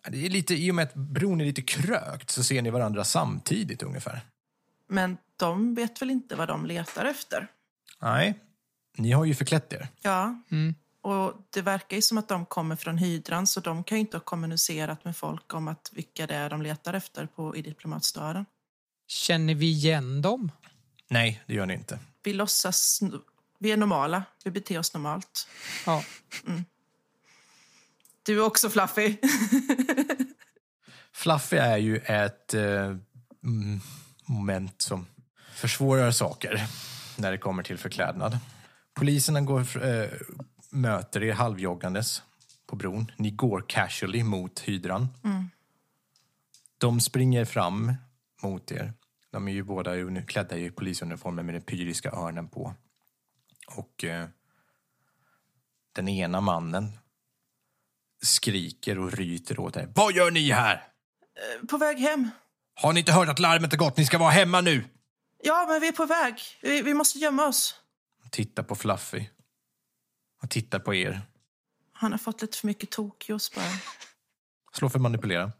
A: Det är lite, I och med att bron är lite krökt så ser ni varandra samtidigt ungefär.
B: Men de vet väl inte vad de letar efter?
A: Nej, ni har ju förklätt er.
B: Ja.
C: Mm.
B: Och det verkar ju som att de kommer från hydran så de kan ju inte ha kommunicerat med folk om att vilka det är de letar efter på, i diplomatstaden.
C: Känner vi igen dem?
A: Nej, det gör ni inte.
B: Vi låtsas... Vi är normala. Vi beter oss normalt.
C: Ja.
B: Du är också Fluffy.
A: Fluffy är ju ett eh, mm, moment som försvårar saker när det kommer till förklädnad. Poliserna går, eh, möter er halvjoggandes på bron. Ni går casually mot hydran. De springer fram mot er. De är ju båda uni- klädda i polisuniformer med den pyriska örnen på. Och eh, den ena mannen skriker och ryter åt er. Vad gör ni här?
B: på väg hem.
A: Har ni inte hört att larmet har gått? Ni ska vara hemma nu!
B: Ja, men vi är på väg. Vi, vi måste gömma oss.
A: Titta på Fluffy. Och tittar på er.
B: Han har fått lite för mycket tokjuice bara.
A: Slå för manipulera.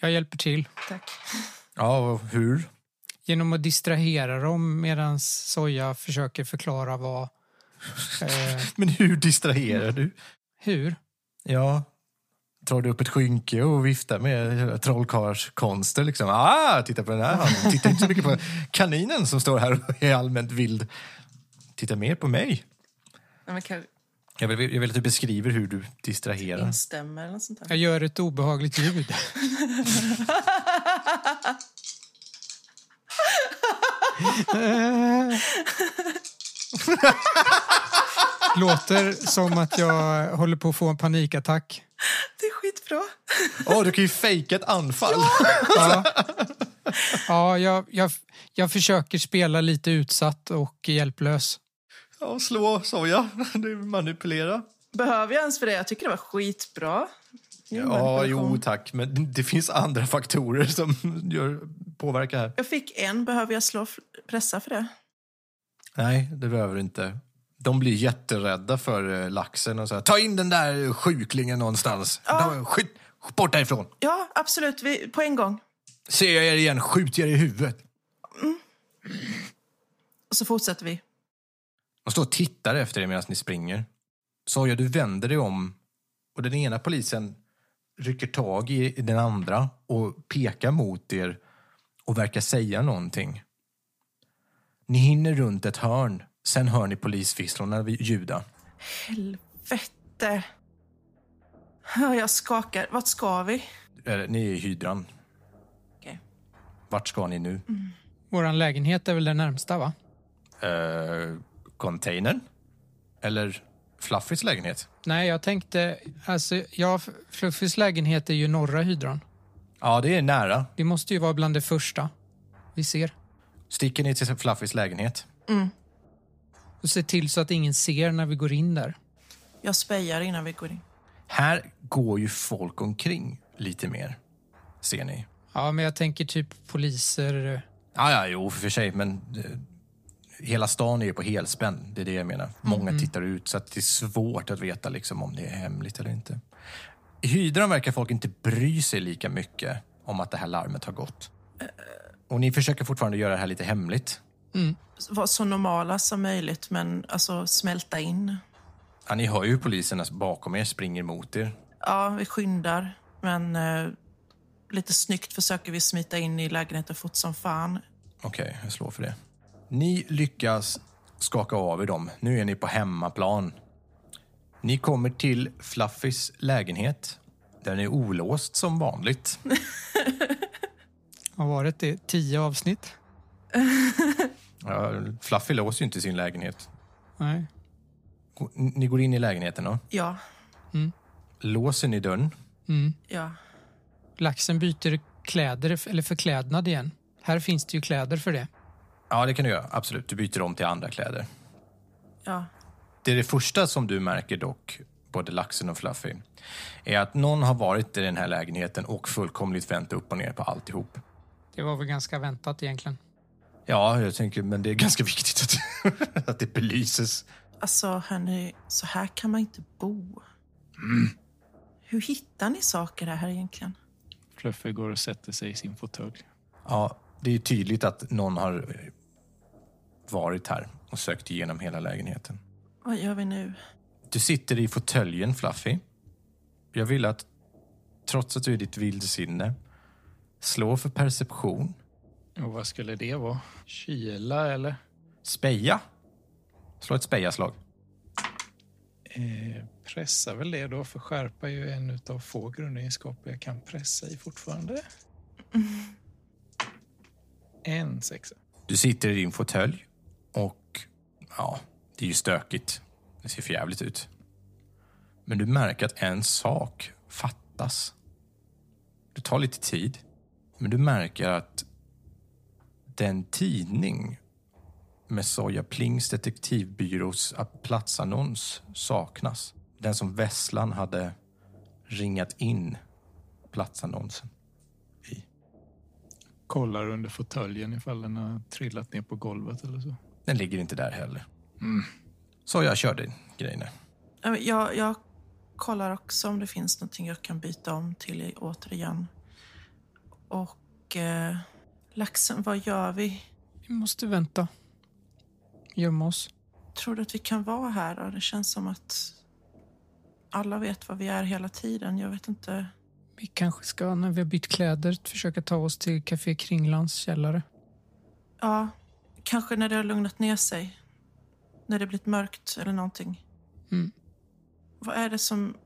C: Jag hjälper till
B: Tack.
A: Ja, och hur?
C: genom att distrahera dem medan Soja försöker förklara vad... Eh,
A: Men hur distraherar du?
C: hur?
A: Ja. Tar du upp ett skynke och viftar med trollkarlskonster liksom. Ah, titta på den här handen. Titta inte så mycket på kaninen som står här och är allmänt vild. Titta mer på mig.
B: Nej, men kanske
A: Jag vill, jag vill att du beskriver hur du distraherar.
B: instämmer eller något sånt där.
C: Jag gör ett obehagligt ljud. Eh. Låter som att jag håller på att få en panikattack.
B: Det är skitbra.
A: Åh, du kan ju fejka ett anfall.
C: Ja, ja jag, jag, jag försöker spela lite utsatt och hjälplös.
A: Ja, slå soja. Du manipulera.
B: Behöver jag ens för det? Jag tycker det var skitbra. Ingen
A: Ja,
B: manipulation.
A: jo tack. Men det finns andra faktorer som gör, påverkar här.
B: Jag fick en. Behöver jag slå f- pressa för det?
A: Nej, det behöver du inte. De blir jätterädda för eh, laxen och säger ta in den där sjuklingen någonstans. Ja. Skjut, bort därifrån.
B: Ja, absolut. Vi, på en gång.
A: Ser jag er igen, skjut er i huvudet.
B: Och så fortsätter vi.
A: De står och tittar efter er medan ni springer. Soja, du vänder dig om och den ena polisen rycker tag i den andra och pekar mot er och verkar säga någonting. Ni hinner runt ett hörn. Sen hör ni polisvisslorna vid- ljuda.
B: Helvete. Ja, Jag skakar. Vart ska vi?
A: Eh, Ni är i hydran.
B: Okej.
A: Vart ska ni nu?
C: Vår lägenhet är väl den närmsta, va?
A: Eh, containern? Eller Fluffys lägenhet?
C: Nej, jag tänkte... Alltså, ja, Fluffys lägenhet är ju norra hydran.
A: Ja, det är nära.
C: Det måste ju vara bland det första vi ser.
A: Sticker ni till Fluffys lägenhet?
C: Och se till så att ingen ser när vi går in där.
B: Jag spejar innan vi går in.
A: Här går ju folk omkring lite mer, ser ni.
C: Ja, men jag tänker typ poliser. eh,
A: Ah, ja, jo, för sig, men eh, hela stan är ju på helspänn. Det är det jag menar. Många tittar ut, så att det är svårt att veta liksom, om det är hemligt eller inte. I hydran verkar folk inte bry sig lika mycket om att det här larmet har gått. Och ni försöker fortfarande göra det här lite hemligt.
B: Var så normala som möjligt, men alltså smälta in.
A: Ja, ni hör ju hur poliserna bakom er springer mot er.
B: Ja, vi skyndar. Men eh, lite snyggt försöker vi smita in i lägenheten fort som fan.
A: Okej, jag slår för det. Ni lyckas skaka av er dem. Nu är ni på hemmaplan. Ni kommer till Fluffys lägenhet. Den är olåst som vanligt.
C: Har varit det tio avsnitt?
A: Ja, Fluffy låser ju inte sin lägenhet.
C: Nej.
A: Ni går in i lägenheten och
B: Ja,
A: låser ni dörren.
B: ja.
C: Laxen byter kläder eller förklädnad igen. Här finns det ju kläder för det.
A: Ja, det kan du göra. Absolut. Du byter om till andra kläder.
B: Ja.
A: Det är det första som du märker dock, både Laxen och Fluffy, är att någon har varit i den här lägenheten och fullkomligt vänt upp och ner på alltihop.
C: Det var väl ganska väntat egentligen.
A: Ja, jag tänker, men det är ganska viktigt att, att det belyses.
B: Alltså, hörni, så här kan man inte bo. Hur hittar ni saker här egentligen?
D: Fluffy går och sätter sig i sin fåtölj.
A: Ja, det är tydligt att någon har eh, varit här och sökt igenom hela lägenheten.
B: Vad gör vi nu?
A: Du sitter i fåtöljen, Fluffy. Jag vill att, trots att du är i ditt vildsinne, slå för perception
D: Och vad skulle det vara? Kyla eller?
A: Speja? Slå ett spejaslag.
D: Eh, pressa väl det då, för skärpa är ju en utav få grundegenskaper jag kan pressa i fortfarande. En sexa.
A: Du sitter i din fåtölj och ja, det är ju stökigt. Det ser för jävligt ut. Men du märker att en sak fattas. Det tar lite tid, men du märker att den tidning med Soja Plings detektivbyrås platsannons saknas. Den som Vesslan hade ringat in platsannonsen.
D: Kollar under fåtöljen ifall den har trillat ner på golvet eller så.
A: Den ligger inte där heller. Så jag kör din grej nu.
B: Ja, men Jag, jag kollar också om det finns någonting jag kan byta om till i- återigen. Och eh, laxen, vad gör vi?
C: Vi måste vänta. Gömma oss.
B: Tror du att vi kan vara här? Då? Det känns som att alla vet var vi är hela tiden. Jag vet inte.
C: Vi kanske ska, när vi har bytt kläder, försöka ta oss till Café Kringlands källare.
B: Ja, kanske när det har lugnat ner sig. När det blivit mörkt eller någonting.
C: Mm.
B: Vad är det som...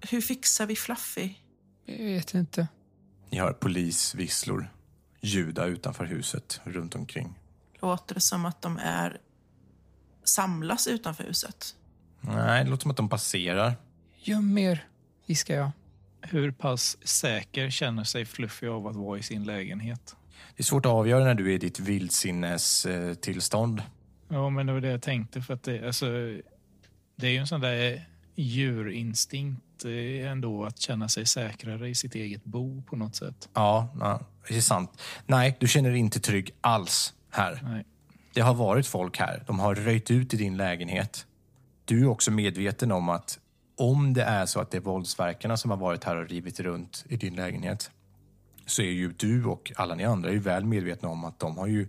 B: Hur fixar vi Fluffy?
C: Jag vet inte.
A: Ni hör polisvisslor ljuda utanför huset runt omkring.
B: Låter det som att de är samlas utanför huset?
A: Nej, det låter som att de passerar.
C: Göm er, viskar jag.
D: Hur pass säker känner sig Fluffy av att vara i sin lägenhet?
A: Det är svårt att avgöra när du är i ditt vildsinnestillstånd.
D: Ja, men det var det jag tänkte. För att det, alltså, det är ju en sån där djurinstinkt eh, ändå att känna sig säkrare i sitt eget bo på något sätt.
A: Ja, ja, det är sant. Nej, du känner dig inte trygg alls här.
D: Nej.
A: Det har varit folk här. De har röjt ut i din lägenhet. Du är också medveten om att om det är så att det är våldsverkarna som har varit här och rivit runt i din lägenhet så är ju du och alla ni andra är ju väl medvetna om att de har ju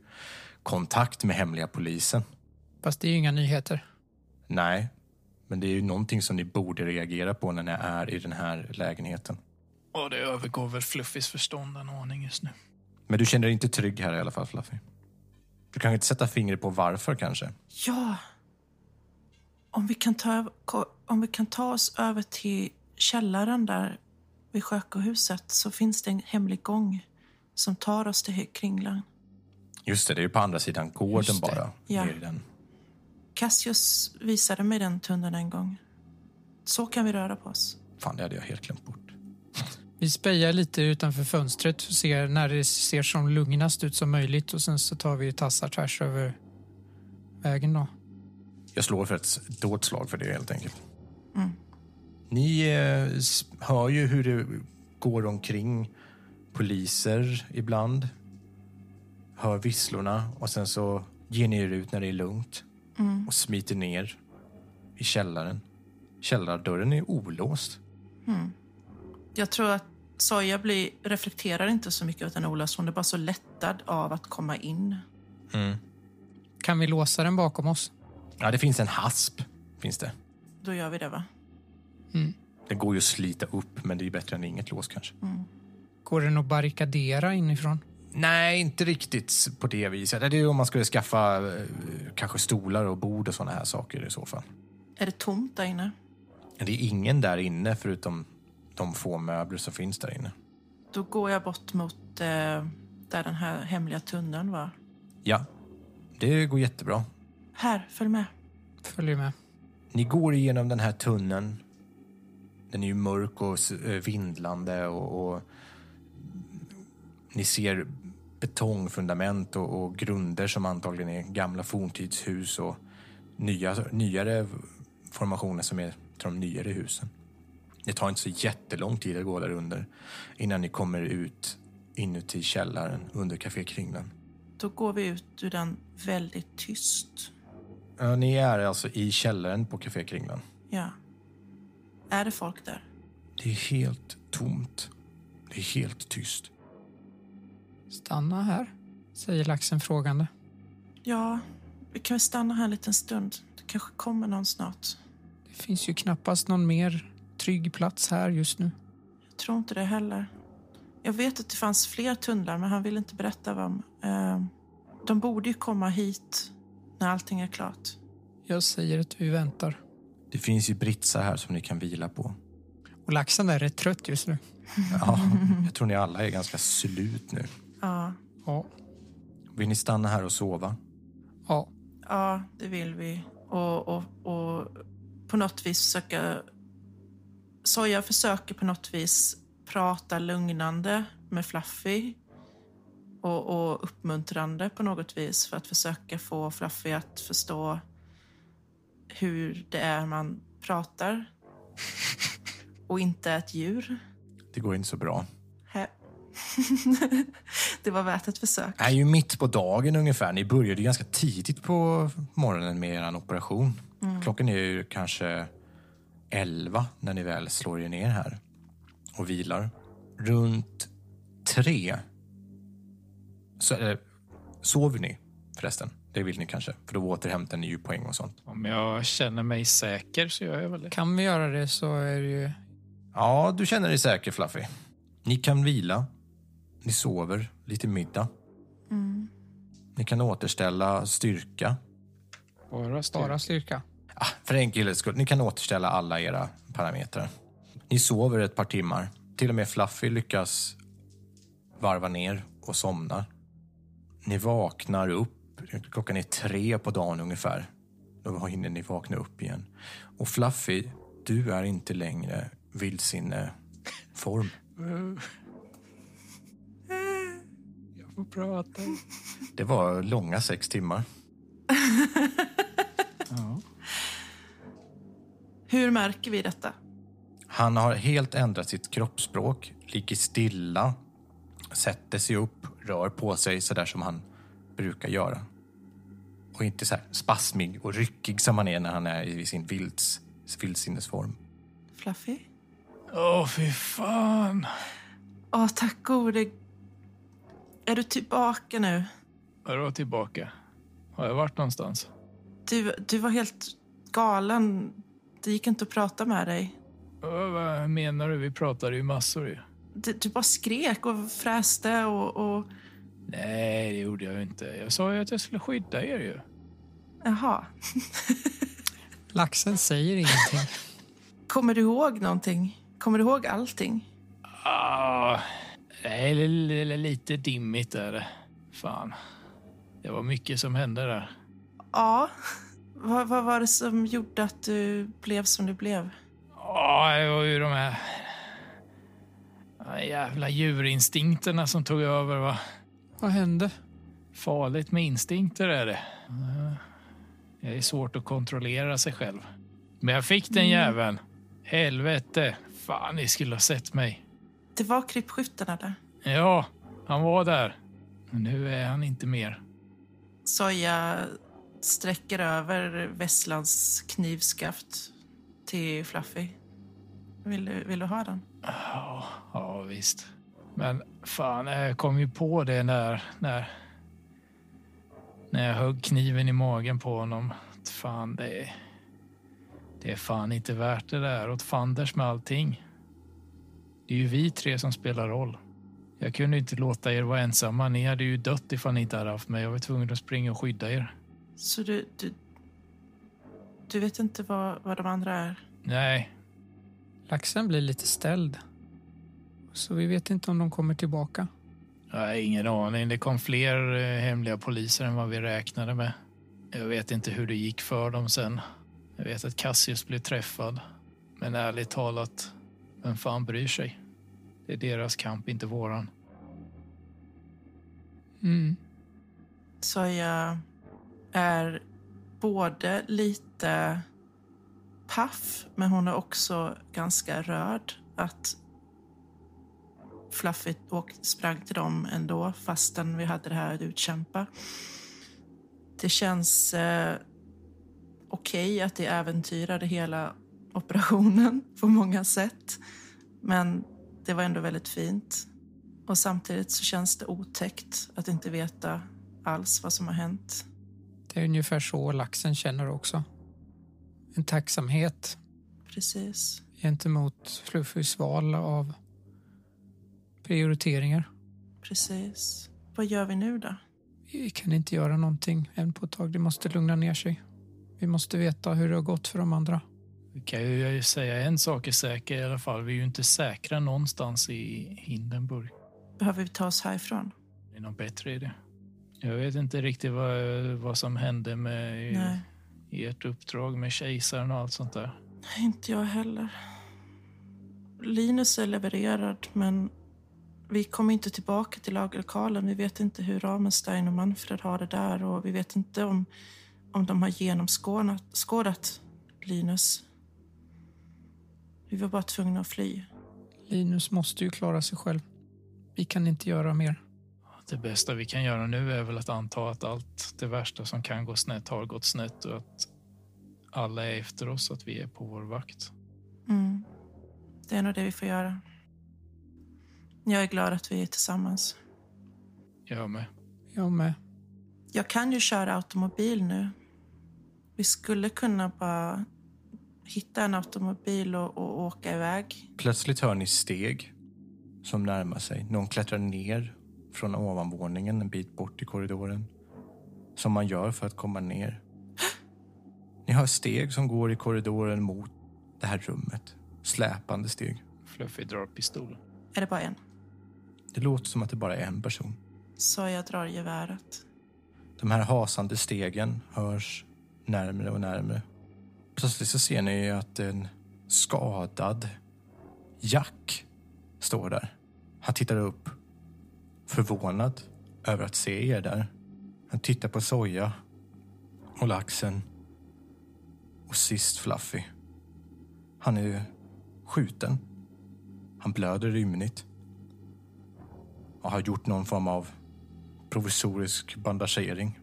A: kontakt med hemliga polisen.
C: Fast det är ju inga nyheter.
A: Nej, men det är ju någonting som ni borde reagera på när ni är i den här lägenheten.
D: Och det övergår väl Fluffys förstånd en aning just nu.
A: Men du känner dig inte trygg här i alla fall, Fluffy. Du kan inte sätta fingret på varför kanske?
B: Ja. Om vi kan ta, om vi kan ta oss över till källaren där vid Sjökohuset så finns det en hemlig gång som tar oss till Kringlan.
A: Just det, det är ju på andra sidan gården
D: Just det.
A: bara.
B: Ja.
A: ner i den.
B: Cassius visade mig den tunneln en gång. Så kan vi röra på oss.
A: Fan, det hade jag helt glömt bort.
C: Vi spejar lite utanför fönstret och ser när det ser som lugnast ut som möjligt och sen så tar vi tassar tvärs över vägen då.
A: Jag slår för ett dolt slag för det helt enkelt. Ni eh, s- hör ju hur det går omkring poliser ibland. Hör visslorna och sen så ger ni er ut när det är lugnt och smiter ner i källaren. Källardörren är olåst.
B: Jag tror att Soja blir, reflekterar inte så mycket över den Olas. Hon är bara så lättad av att komma in.
C: Kan vi låsa den bakom oss?
A: Ja, det finns en hasp. Finns det.
B: Då gör vi det, va?
A: Det går ju att slita upp, men det är bättre än inget lås kanske.
C: Går den att barrikadera inifrån?
A: Nej, inte riktigt på det viset. Det är ju om man skulle skaffa eh, kanske stolar och bord och såna här saker i så fall.
B: Är det tomt där inne?
A: Det är ingen där inne förutom de få möbler som finns där inne.
B: Då går jag bort mot eh, där den här hemliga tunneln var.
A: Ja, det går jättebra.
B: Här, följ med.
C: Följer med.
A: Ni går igenom den här tunneln. Den är ju mörk och s- eh, vindlande och, och ni ser betongfundament och, och grunder som antagligen är gamla forntidshus och nya, nyare formationer som är till de nyare husen. Det tar inte så jättelång tid att gå där under innan ni kommer ut inuti källaren under Café Kringlan.
B: Då går vi ut ur den väldigt tyst.
A: Ja, Ni är alltså i källaren på Café Kringlan.
B: Ja. Är det folk där?
A: Det är helt tomt. Det är helt tyst.
C: Stanna här, säger laxen frågande.
B: Ja, vi kan väl stanna här en liten stund. Det kanske kommer någon snart.
C: Det finns ju knappast någon mer trygg plats här just nu.
B: Jag tror inte det heller. Jag vet att det fanns fler tunnlar, men han ville inte berätta om. Eh, de borde ju komma hit när allting är klart.
C: Jag säger att vi väntar.
A: Det finns ju britsa här som ni kan vila på.
C: Och laxen där är rätt trött just nu.
A: Ja, jag tror ni alla är ganska slut nu.
B: Ja,
C: Ja,
A: Vill ni stanna här och sova?
C: ja.
B: ja det vill vi. Och, och, och på något vis försöka... Soja försöker på något vis prata lugnande med Fluffy och, och uppmuntrande på något vis för att försöka få Fluffy att förstå hur det är man pratar och inte är ett djur.
A: Det går inte så bra.
B: Hä? det var värt ett försök.
A: Det är ju mitt på dagen ungefär. Ni började ju ganska tidigt på morgonen med er operation. Klockan är ju kanske 11 när ni väl slår er ner här och vilar. Runt tre så äh, sover ni förresten. Det vill ni kanske, för då återhämtar ni ju poäng och sånt.
D: Om jag känner mig säker så gör jag väl det.
C: Kan vi göra det så är det ju...
A: Ja, du känner dig säker Fluffy. Ni kan vila. Ni sover lite middag. Ni kan återställa styrka.
D: Bara
C: Bara
D: styr.
C: styrka.
A: Ah, för enkelhets skull, ni kan återställa alla era parametrar. Ni sover ett par timmar. Till och med Fluffy lyckas varva ner och somnar. Ni vaknar upp. Klockan är tre på dagen ungefär. Då hinner ni vakna upp igen. Och Fluffy, du är inte längre vildsinneform.
D: Jag får prata.
A: Det var långa sex timmar.
D: Ja.
B: Hur märker vi detta?
A: Han har helt ändrat sitt kroppsspråk, ligger stilla, sätter sig upp, rör på sig sådär som han brukar göra. Och inte så här spasmig och ryckig som han är när han är i sin vilds, vildsinnesform.
B: Fluffy?
D: Åh, fy fan.
B: Åh, tack gode. Är du tillbaka nu?
D: Vadå tillbaka? Har jag varit någonstans?
B: Du, du var helt galen. Det gick inte att prata med dig.
D: Ö, Vad menar du? Vi pratade ju massor ju.
B: Du, du bara skrek och fräste och, och...
D: Nej, det gjorde jag inte. Jag sa ju att jag skulle skydda er ju.
B: Jaha.
C: Laxen säger ingenting.
B: Kommer du ihåg någonting? Kommer du ihåg allting?
D: Ah, nej, det är li- lite dimmigt är det. Fan. Det var mycket som hände där.
B: Ja. Vad, vad var det som gjorde att du blev som du blev?
D: Ja, Ah, det var ju de här de jävla djurinstinkterna som tog över. Va?
C: Vad hände?
D: Farligt med instinkter är det. Det är svårt att kontrollera sig själv. Men jag fick den jäveln. Helvete. Fan, ni skulle ha sett mig.
B: Det var krypskytten, eller?
D: Ja, han var där. Men nu är han inte mer.
B: Soja sträcker över vesslans knivskaft till Fluffy. Vill du, vill du ha den?
D: Ja, ja visst. Men fan, eh, jag kom ju på det när, när, när jag högg kniven i magen på honom. Att Fan, det är, det är fan inte värt det där. Åt fanders med allting. Det är ju vi tre som spelar roll. Jag kunde inte låta er vara ensamma. Ni hade ju dött ifall ni inte hade haft mig. Jag var tvungen att springa och skydda er.
B: Så du... Du, du vet inte vad, vad de andra är?
D: Nej,
C: Laxen blir lite ställd. Så vi vet inte om de kommer tillbaka.
D: Jag har ingen aning. Det kom fler eh, hemliga poliser än vad vi räknade med. Jag vet inte hur det gick för dem sen. Jag vet att Cassius blev träffad. Men ärligt talat, vem fan bryr sig? Det är deras kamp, inte våran.
C: Mm.
B: Så jag är både lite paff, men hon är också ganska rörd att Fluffy åk- sprang till dem ändå, fastän vi hade det här att utkämpa. Det känns eh, okej att det äventyrade hela operationen på många sätt. Men det var ändå väldigt fint. Och samtidigt så känns det otäckt att inte veta alls vad som har hänt.
C: Det är ungefär så laxen känner också. En tacksamhet
B: Precis.
C: gentemot Fluffys val av prioriteringar.
B: Precis. Vad gör vi nu då?
C: Vi kan inte göra någonting än på ett tag. Det måste lugna ner sig. Vi måste veta hur det har gått för de andra.
D: Vi kan ju säga en sak är säker i alla fall. Vi är ju inte säkra någonstans i Hindenburg.
B: Behöver vi ta oss härifrån?
D: Det är något bättre i det. Jag vet inte riktigt vad, vad som hände med
B: Nej,
D: ert uppdrag med kejsaren och allt sånt där.
B: inte jag heller. Linus är levererad, men vi kommer inte tillbaka till lagerlokalen. Vi vet inte hur Ramenstein och Manfred har det där och vi vet inte om, om de har genomskådat Linus. Vi var bara tvungna att fly.
C: Linus måste ju klara sig själv. Vi kan inte göra mer.
D: Det bästa vi kan göra nu är väl att anta att allt det värsta som kan gå snett har gått snett och att alla är efter oss, att vi är på vår vakt.
B: Mm. Det är nog det vi får göra. Jag är glad att vi är tillsammans.
D: Jag med.
C: Jag med.
B: Jag kan ju köra automobil nu. Vi skulle kunna bara hitta en automobil och, och åka iväg.
A: Plötsligt hör ni steg som närmar sig. Någon klättrar ner från ovanvåningen en bit bort i korridoren. Som man gör för att komma ner. Ni hör steg som går i korridoren mot det här rummet. Släpande steg.
D: Fluffy drar pistolen.
B: Är det bara en?
A: Det låter som att det bara är en person.
B: Så jag drar geväret.
A: De här hasande stegen hörs närmre och närmre. Plötsligt så ser ni att en skadad Jack står där. Han tittar upp, förvånad över att se er där. Han tittar på Soja och laxen och sist Fluffy. Han är skjuten. Han blöder rymligt och har gjort någon form av provisorisk bandagering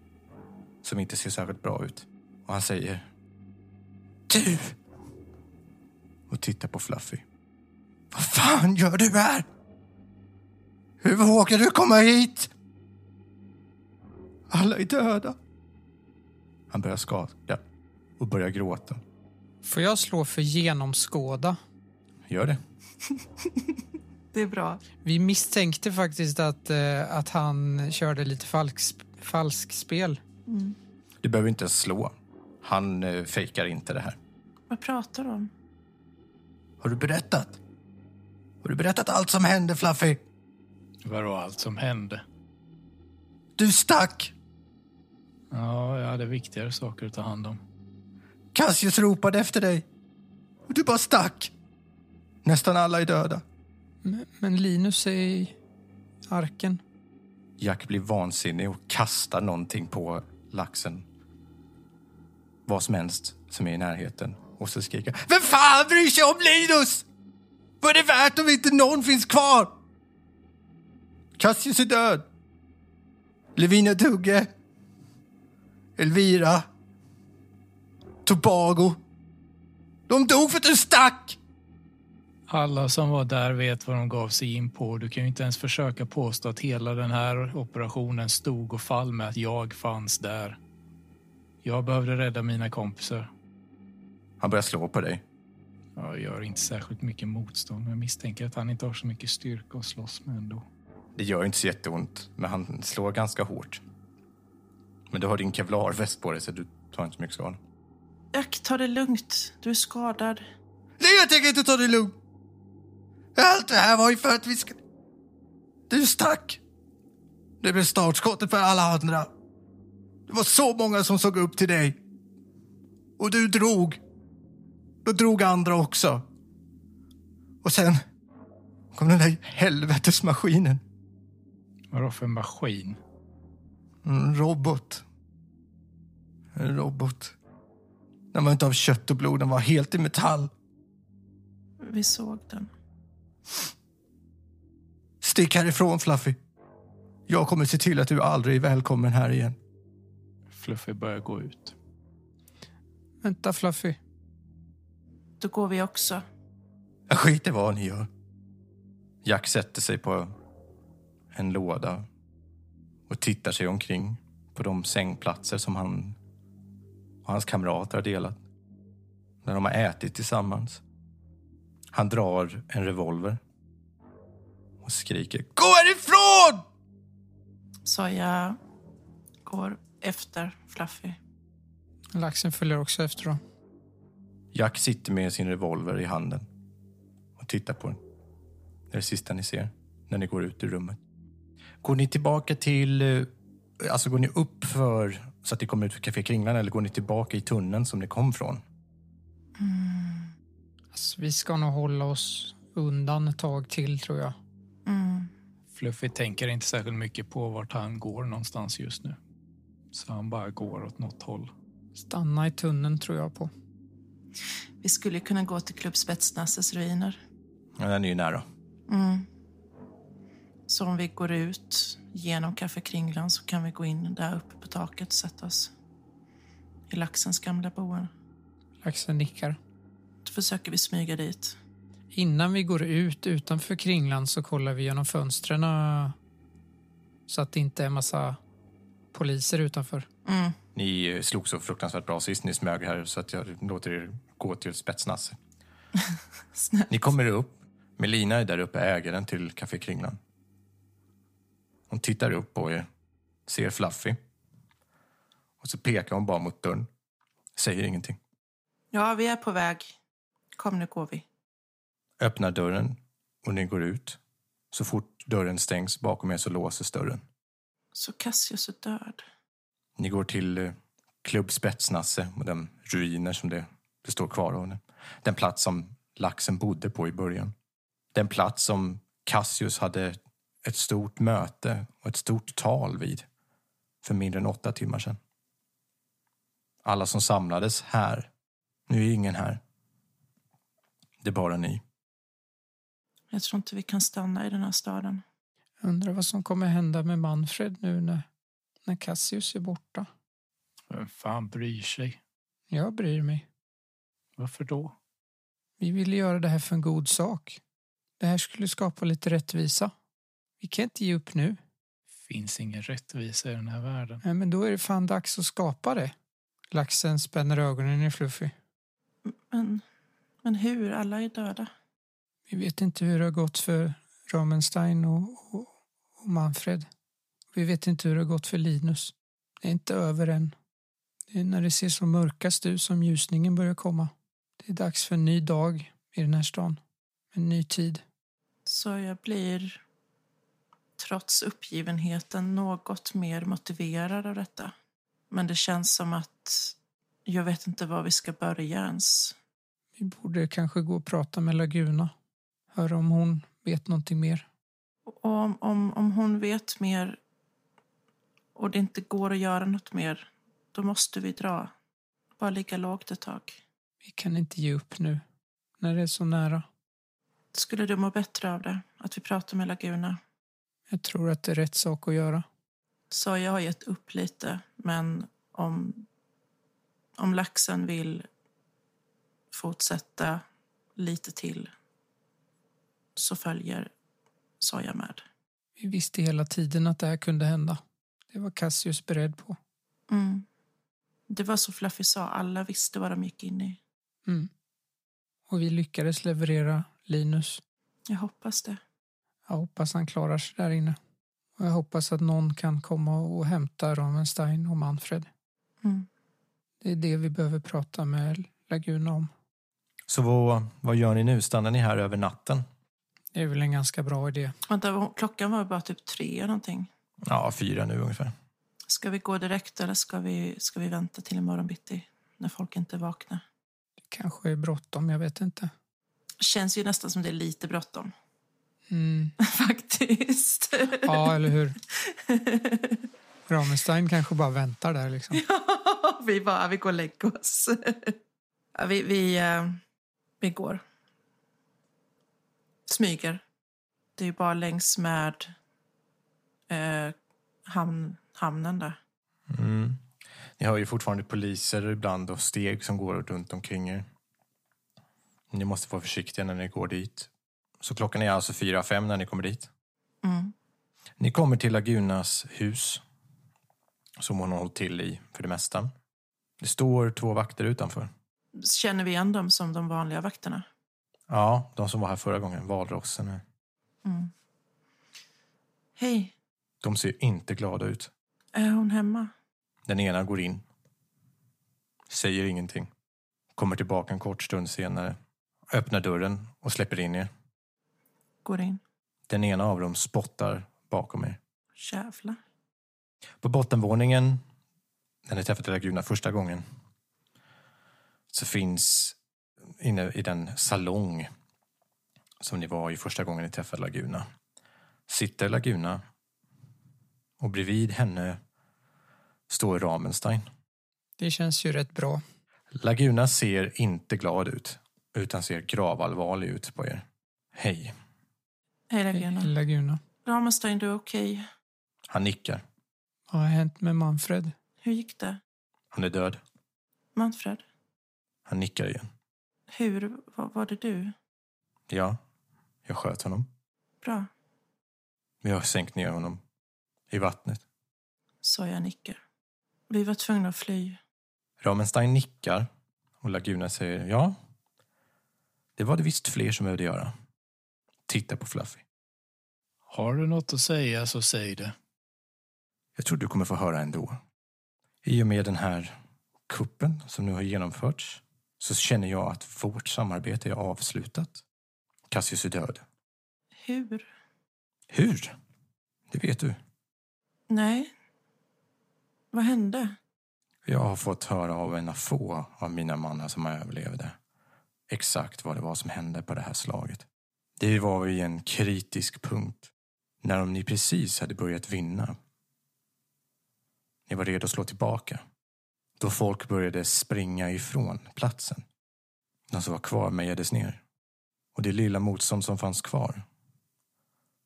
A: som inte ser särskilt bra ut. Och han säger... Du! Och tittar på Fluffy. Vad fan gör du här? Hur vågar du komma hit? Alla är döda. Han börjar skaka och börjar gråta.
C: Får jag slå för genomskåda?
A: Gör det.
B: Det är bra.
C: Vi misstänkte faktiskt att, eh, att han körde lite falsk, falskspel.
A: Du behöver inte ens slå. Han eh, fejkar inte det här.
B: Vad pratar du om?
A: Har du berättat? Har du berättat allt som hände, Fluffy?
D: Vadå allt som hände?
A: Du stack!
D: Ja, jag hade viktigare saker att ta hand om.
A: Cassius ropade efter dig. Och du bara stack. Nästan alla är döda.
C: Men- Men Linus är i arken.
A: Jack blir vansinnig och kastar någonting på laxen. Vad som helst som är i närheten. Och så skriker han, Vem fan bryr sig om Linus? Vad är det värt om inte någon finns kvar? Cassius är död. Levina Tugge. Elvira. Tobago. De dog för att du stack!
D: Alla som var där vet vad de gav sig in på. Du kan ju inte ens försöka påstå att hela den här operationen stod och fall med att jag fanns där. Jag behövde rädda mina kompisar.
A: Han börjar slå på dig.
D: Jag gör inte särskilt mycket motstånd. Jag misstänker att han inte har så mycket styrka att slåss med ändå.
A: Det gör inte så jätteont, men han slår ganska hårt. Men du har din kevlarväst på dig, så du tar inte så mycket skada.
B: Jack, ta det lugnt. Du är skadad.
A: Nej, jag tänker inte ta det lugnt! Allt det här var ju för att vi ska... Du stack! Det blev startskottet för alla andra. Det var så många som såg upp till dig. Och du drog. Då drog andra också. Och sen kom den där helvetesmaskinen.
D: Vadå för maskin?
A: En robot. En robot. Den var inte av kött och blod, den var helt i metall.
B: Vi såg den.
A: Stick härifrån, Fluffy. Jag kommer se till att du aldrig är välkommen här igen.
D: Fluffy börjar gå ut.
C: Vänta Fluffy.
B: Då går vi också.
A: Jag skiter vad ni gör. Jack sätter sig på en låda och tittar sig omkring på de sängplatser som han och hans kamrater har delat. När de har ätit tillsammans. Han drar en revolver och och skriker Gå härifrån!
B: Soja går efter Fluffy.
C: Laxen följer också efter då.
A: Jack sitter med sin revolver i handen och tittar på den. Det är det sista ni ser när ni går ut ur rummet. Går ni tillbaka till... eh, Alltså går ni upp för så att ni kommer ut för Café Kringlan eller går ni tillbaka i tunneln som ni kom från?
C: Alltså, vi ska nog hålla oss undan ett tag till tror jag.
B: Mm.
D: Fluffy tänker inte särskilt mycket på vart han går någonstans just nu. Så han bara går åt något håll.
C: Stanna i tunneln tror jag på.
B: Vi skulle ju kunna gå till Klubb Spetsnasses ruiner.
A: Ja, den är ju nära.
B: Mm. Så om vi går ut genom Café Kringlan så kan vi gå in där uppe på taket och sätta oss i laxens gamla boende.
C: Laxen nickar.
B: Då försöker vi smyga dit.
C: Innan vi går ut utanför Kringland så kollar vi genom fönstren eh, så att det inte är massa poliser utanför.
B: Mm.
A: Ni eh, slog så fruktansvärt bra sist ni smög här så att jag låter er gå till Spetsnaz.
B: Snälla.
A: Ni kommer upp. Melina är där uppe, ägaren till Café Kringlan. Hon tittar upp på er, ser Fluffy. Och så pekar hon bara mot dörren. Säger ingenting.
B: Ja, vi är på väg. Kom, nu går vi.
A: Öppnar dörren och ni går ut. Så fort dörren stängs bakom er så låses dörren.
B: Så Cassius är död.
A: Ni går till eh, Klubb Spetsnasse och de ruiner som det, det står kvar av. nu. Den plats som laxen bodde på i början. Den plats som Cassius hade ett stort möte och ett stort tal vid för mindre än åtta timmar sedan. Alla som samlades här. Nu är ingen här. Det är bara ni.
B: Jag tror inte vi kan stanna i den här staden.
C: Undrar vad som kommer hända med Manfred nu när, när Cassius är borta.
D: Vem fan bryr sig?
C: Jag bryr mig.
D: Varför då?
C: Vi ville göra det här för en god sak. Det här skulle skapa lite rättvisa. Vi kan inte ge upp nu.
D: Finns ingen rättvisa i den här världen.
C: Nej, men då är det fan dags att skapa det. Laxen spänner ögonen i Fluffy.
B: Men, men hur? Alla är döda.
C: Vi vet inte hur det har gått för Ramenstein och, och, och Manfred. Vi vet inte hur det har gått för Linus. Det är inte över än. Det är när det ser som mörkast ut som ljusningen börjar komma. Det är dags för en ny dag i den här stan. En ny tid.
B: Så jag blir, trots uppgivenheten, något mer motiverad av detta. Men det känns som att jag vet inte var vi ska börja ens.
C: Vi borde kanske gå och prata med Laguna. Höra om hon vet någonting mer.
B: Och om, om, om hon vet mer och det inte går att göra något mer, då måste vi dra. Bara ligga lågt ett tag.
C: Vi kan inte ge upp nu. När det är så nära.
B: Skulle du må bättre av det? Att vi pratar med Laguna?
C: Jag tror att det är rätt sak att göra.
B: Så jag har gett upp lite, men om, om laxen vill fortsätta lite till så följer Soja med.
C: Vi visste hela tiden att det här kunde hända. Det var Cassius beredd på.
B: Mm. Det var så Fluffy sa, alla visste vad de gick in i.
C: Mm. Och vi lyckades leverera Linus.
B: Jag hoppas det.
C: Jag hoppas han klarar sig där inne. Och jag hoppas att någon kan komma och hämta Ramenstein och Manfred.
B: Mm.
C: Det är det vi behöver prata med Laguna om.
A: Så vad, vad gör ni nu? Stannar ni här över natten?
C: Det är väl en ganska bra idé.
B: Vänta, vad- klockan var bara typ tre eller någonting.
A: Ja, fyra nu ungefär.
B: Ska vi gå direkt eller ska vi, ska vi vänta till imorgon bitti när folk inte vaknar?
C: Det kanske är bråttom, jag vet inte.
B: Känns ju nästan som det är lite bråttom
C: Mm.
B: faktiskt.
C: Ja, eller hur? Ramenstein kanske bara väntar där liksom.
B: vi bara, vi går och lägger oss. ja, vi, vi, eh, vi går. Smyger. Det är ju bara längs med eh, hamn, hamnen där.
A: Mm. Ni hör ju fortfarande poliser ibland och steg som går runt omkring er. Ni måste vara försiktiga när ni går dit. Så klockan är alltså fyra, fem när ni kommer dit.
B: Mm.
A: Ni kommer till Lagunas hus som hon har hållit till i för det mesta. Det står två vakter utanför.
B: Känner vi igen dem som de vanliga vakterna?
A: Ja, de som var här förra gången, valrossen.
B: Mm. Hej,
A: De ser inte glada ut.
B: är hon hemma?
A: Den ena går in. Säger ingenting. Kommer tillbaka en kort stund senare. Öppnar dörren och släpper in er.
B: Går in.
A: Den ena av dem spottar bakom er.
B: Jävlar.
A: På bottenvåningen, när ni träffade Laguna första gången, så finns inne i den salong som ni var i första gången ni träffade Laguna, sitter Laguna och bredvid henne står Ramenstein.
C: Det känns ju rätt bra.
A: Laguna ser inte glad ut, utan ser gravallvarlig ut på er. Hej.
B: Hej Laguna.
C: Laguna.
B: Ramenstein, du är okej.
A: Han nickar.
C: Vad har hänt med Manfred?
B: Hur gick det?
A: Han är död.
B: Manfred,
A: Han nickar igen.
B: hur var, var det du?
A: Ja, jag sköt honom.
B: Bra,
A: Vi har sänkt ner honom i vattnet.
B: sa jag nickar. Vi var tvungna att fly.
A: Ramenstein nickar och Laguna säger ja. Det var det visst fler som behövde göra. Titta på Fluffy.
D: Har du något att säga så säg det.
A: Jag tror du kommer få höra ändå. I och med den här kuppen som nu har genomförts så känner jag att vårt samarbete är avslutat. Cassius är död.
B: Hur?
A: Hur? Det vet du.
B: Nej. Vad hände?
A: Jag har fått höra av en av få av mina mannar som överlevde exakt vad det var som hände på det här slaget. Det var vid en kritisk punkt när de ni precis hade börjat vinna. Ni var redo att slå tillbaka. Då folk började springa ifrån platsen. De som var kvar mejades ner. Och det lilla motstånd som fanns kvar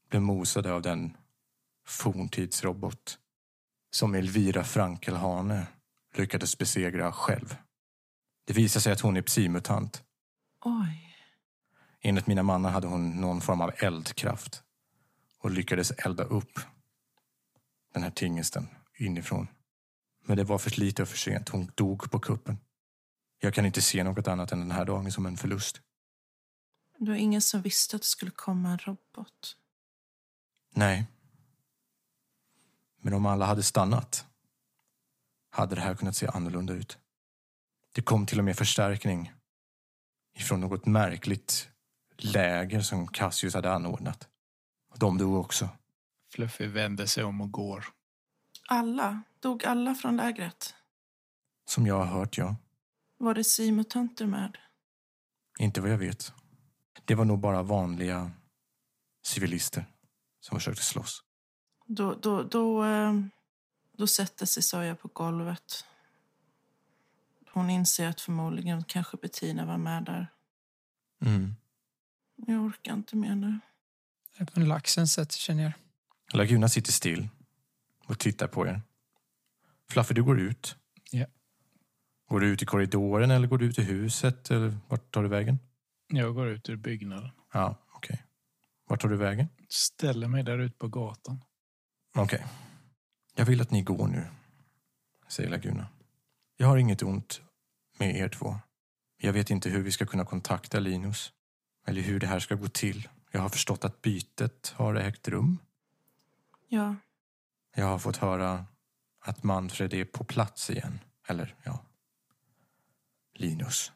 A: blev mosade av den forntidsrobot som Elvira Frankelhane lyckades besegra själv. Det visade sig att hon är psimutant.
B: Oj.
A: Enligt mina mannar hade hon någon form av eldkraft och lyckades elda upp den här tingesten inifrån. Men det var för lite och för sent. Hon dog på kuppen. Jag kan inte se något annat än den här dagen som en förlust.
B: Det var ingen som visste att det skulle komma en robot.
A: Nej. Men om alla hade stannat hade det här kunnat se annorlunda ut. Det kom till och med förstärkning ifrån något märkligt läger som Cassius hade anordnat. Och de dog också.
D: Fluffy vänder sig om och går.
B: Alla? Dog alla från lägret?
A: Som jag har hört, ja.
B: Var det simutanter med?
A: Inte vad jag vet. Det var nog bara vanliga civilister som försökte slåss.
B: Då, då, då, eh, då sätter sig Soja på golvet. Hon inser att förmodligen kanske Bettina var med där.
A: Mm.
B: Jag orkar inte mer nu.
C: Även laxen sätter sig ner.
A: Laguna sitter still och tittar på er. Fluffy, du går ut.
D: Ja.
A: Går du ut i korridoren eller går du ut i huset? Eller vart tar du vägen?
D: Jag går ut ur byggnaden.
A: Ja, okej. Vart tar du vägen?
D: Ställer mig där ute på gatan.
A: Okej. Jag vill att ni går nu, säger Laguna. Jag har inget ont med er två. Jag vet inte hur vi ska kunna kontakta Linus. Eller hur det här ska gå till. Jag har förstått att bytet har ägt rum.
B: Ja,
A: Jag har fått höra att Manfred är på plats igen. Eller ja, Linus.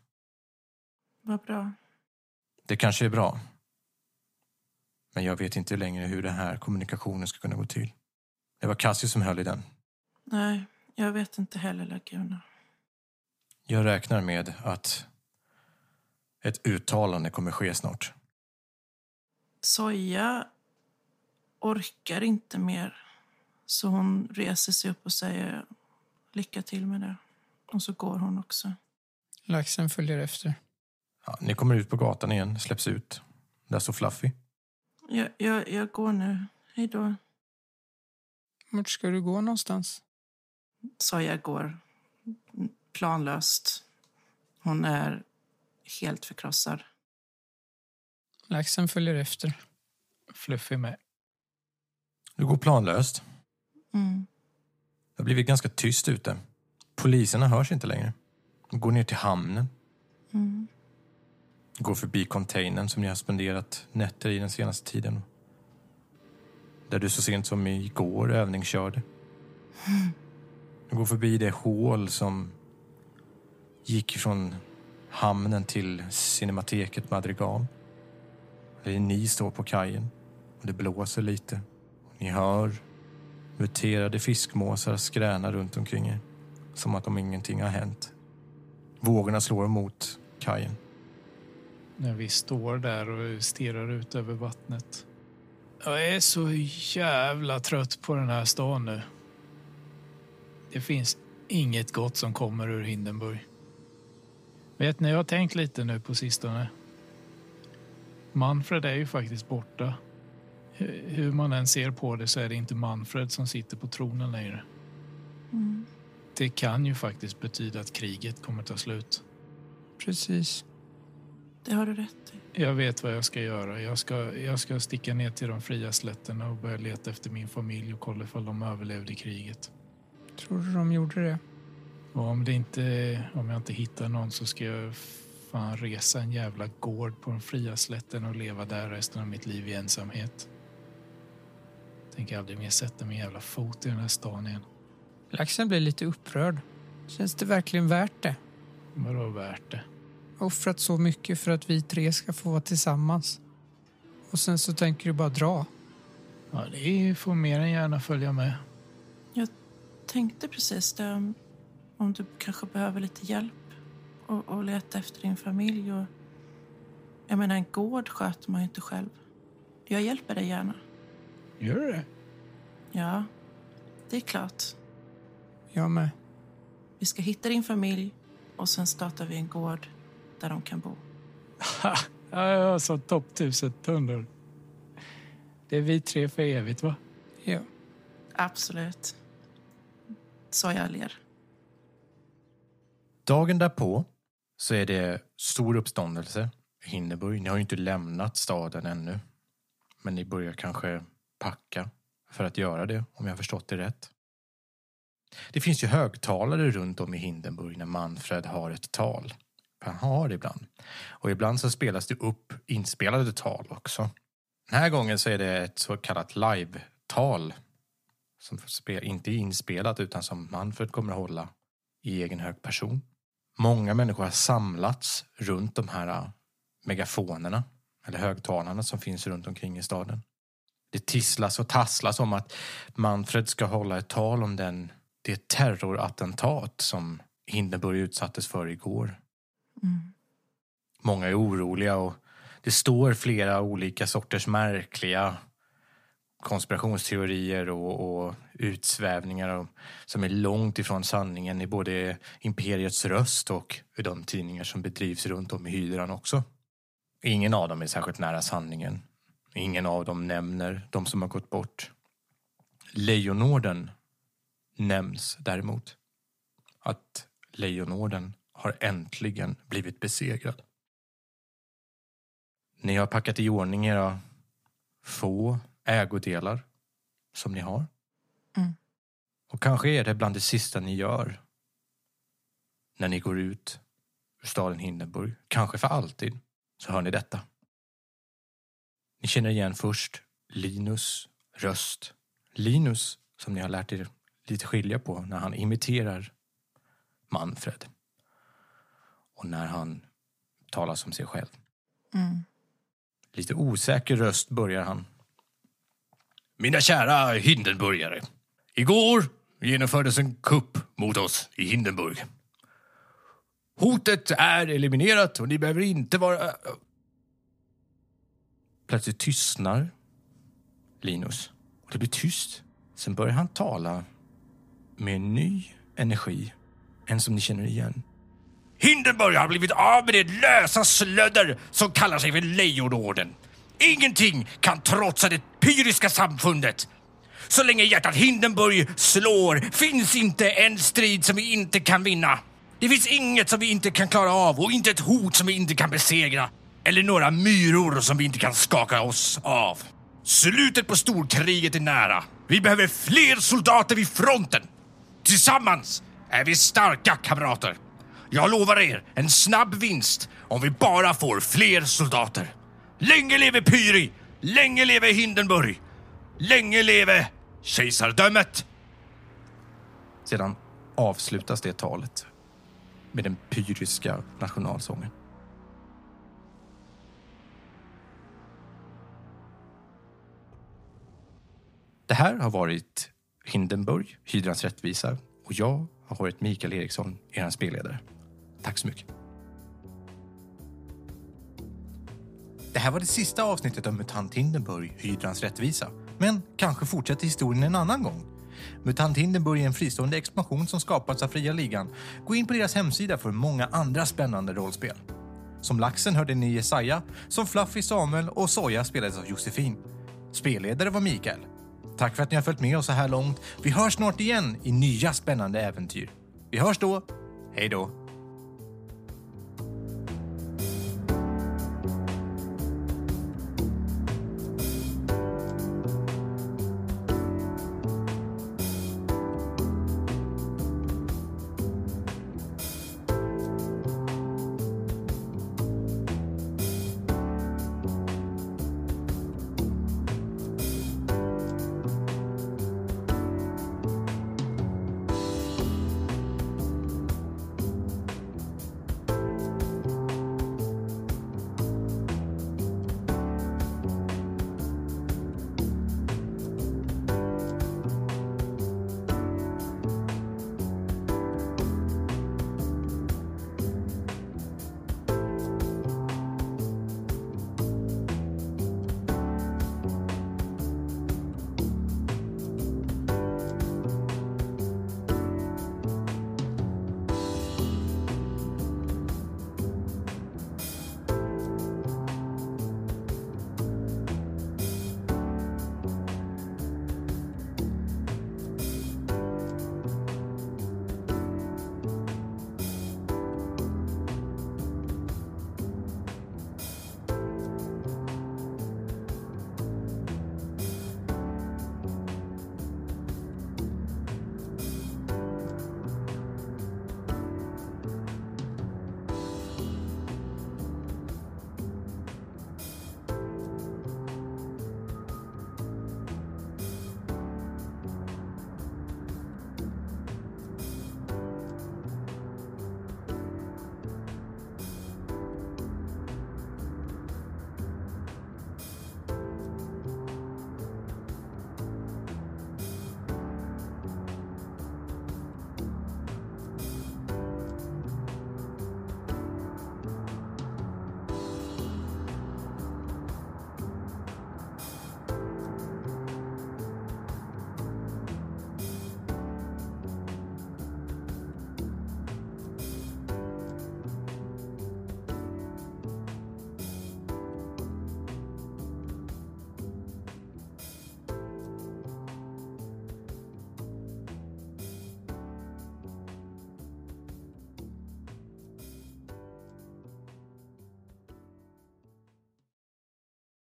B: vad bra.
A: Det kanske är bra. Men jag vet inte längre hur den här kommunikationen ska kunna gå till. Det var Cassius som höll i den.
B: Nej, jag vet inte heller Laguna.
A: Jag räknar med att ett uttalande kommer ske snart.
B: Soja orkar inte mer. Så hon reser sig upp och säger lycka till med det. Och så går hon också.
C: Laxen följer efter.
A: Ja, ni kommer ut på gatan igen, släpps ut. Där står Fluffy.
B: Jag, jag, jag går nu. Hej då.
C: Vart ska du gå någonstans?
B: Soja går planlöst. Hon är helt förkrossad.
C: Laxen följer efter.
D: Fluffy med.
A: Du går planlöst.
B: Mm.
A: Det har blivit ganska tyst ute. Poliserna hörs inte längre. De går ner till hamnen.
B: Mm.
A: går förbi containern som ni har spenderat nätter i den senaste tiden. Där du så sent som igår övningskörde. Du går förbi det hål som gick från hamnen till cinemateket Madrigal. Där ni står på kajen och det blåser lite. Ni hör muterade fiskmåsar skräna runt omkring er som att om ingenting har hänt. Vågorna slår emot kajen.
D: När vi står där och stirrar ut över vattnet. Jag är så jävla trött på den här stan nu. Det finns inget gott som kommer ur Hindenburg. Vet ni, jag har tänkt lite nu på sistone. Manfred är ju faktiskt borta. Hu- Hur man än ser på det så är det inte Manfred som sitter på tronen längre.
B: Mm.
D: Det kan ju faktiskt betyda att kriget kommer ta slut.
C: Precis.
B: Det har du rätt i.
D: Jag vet vad jag ska göra. Jag ska, jag ska sticka ner till de fria slätterna och börja leta efter min familj och kolla ifall de överlevde kriget.
C: Tror du de gjorde det?
D: Och om, det inte, om jag inte hittar någon så ska jag fan resa en jävla gård på de fria slätterna och leva där resten av mitt liv i ensamhet. Tänker aldrig mer sätta min jävla fot i den här stan igen.
C: Laxen blir lite upprörd. Känns det verkligen värt det?
D: Vadå värt det?
C: Offrat så mycket för att vi tre ska få vara tillsammans. Och sen så tänker du bara dra.
D: Ja, det får mer än gärna följa med.
B: Jag tänkte precis det om- om du kanske behöver lite hjälp och, och leta efter din familj. Och, jag menar, en gård sköter man ju inte själv. Jag hjälper dig gärna.
D: Gör det?
B: Ja, det är klart.
C: Jag med.
B: Vi ska hitta din familj och sen startar vi en gård där de kan bo.
D: Ha! Ja, jag sa topp tusen tunnor. Det är vi tre för evigt, va?
C: Ja.
B: Absolut. Så jag ler.
A: Dagen därpå så är det stor uppståndelse i Hindenburg. Ni har ju inte lämnat staden ännu. Men ni börjar kanske packa för att göra det, om jag har förstått det rätt. Det finns ju högtalare runt om i Hindenburg när Manfred har ett tal. Han har det ibland. Och ibland så spelas det upp inspelade tal också. Den här gången så är det ett så kallat live-tal. Som spe- inte är inspelat utan som Manfred kommer att hålla i egen hög person. Många människor har samlats runt de här äh, megafonerna eller högtalarna som finns runt omkring i staden. Det tisslas och tasslas om att Manfred ska hålla ett tal om den, det terrorattentat som Hindenburg utsattes för igår.
B: Mm.
A: Många är oroliga och det står flera olika sorters märkliga konspirationsteorier och, och utsvävningar om- som är långt ifrån sanningen i både Imperiets röst och i de tidningar som bedrivs runt om i hydran också. Ingen av dem är särskilt nära sanningen. Ingen av dem nämner de som har gått bort. Lejonorden nämns däremot. Att Lejonorden har äntligen blivit besegrad. Ni har packat i ordning era få ägodelar som ni har.
B: Mm.
A: Och kanske är det bland det sista ni gör när ni går ut ur staden Hindenburg. Kanske för alltid så hör ni detta. Ni känner igen först Linus röst. Linus som ni har lärt er lite skilja på när han imiterar Manfred. Och när han talar som sig själv.
B: Mm.
A: Lite osäker röst börjar han. Mina kära Hindenburgare. Igår genomfördes en kupp mot oss i Hindenburg. Hotet är eliminerat och ni behöver inte vara... Plötsligt tystnar Linus. Och det blir tyst. Sen börjar han tala med en ny energi. En som ni känner igen. Hindenburg har blivit av med det lösa slödder som kallar sig för Lejonorden. Ingenting kan trotsa det pyriska samfundet. Så länge hjärtat Hindenburg slår finns inte en strid som vi inte kan vinna. Det finns inget som vi inte kan klara av och inte ett hot som vi inte kan besegra. Eller några myror som vi inte kan skaka oss av. Slutet på storkriget är nära. Vi behöver fler soldater vid fronten. Tillsammans är vi starka kamrater. Jag lovar er en snabb vinst om vi bara får fler soldater. Länge leve Pyri! Länge leve Hindenburg!
E: Länge leve kejsardömet! Sedan avslutas det talet med den pyriska nationalsången. Det här har varit Hindenburg, Hydrans rättvisa och jag har varit Mikael Eriksson, er spelledare. Tack så mycket.
A: Det här var det sista avsnittet av MUTANT Hindenburg, Hydrans rättvisa. Men kanske fortsätter historien en annan gång. MUTANT Hindenburg är en fristående expansion som skapats av Fria Ligan. Gå in på deras hemsida för många andra spännande rollspel. Som Laxen hörde ni Jesaja, som Fluffy Samuel och Soja spelades av Josefin. Spelledare var Mikael. Tack för att ni har följt med oss så här långt. Vi hörs snart igen i nya spännande äventyr. Vi hörs då. Hej då!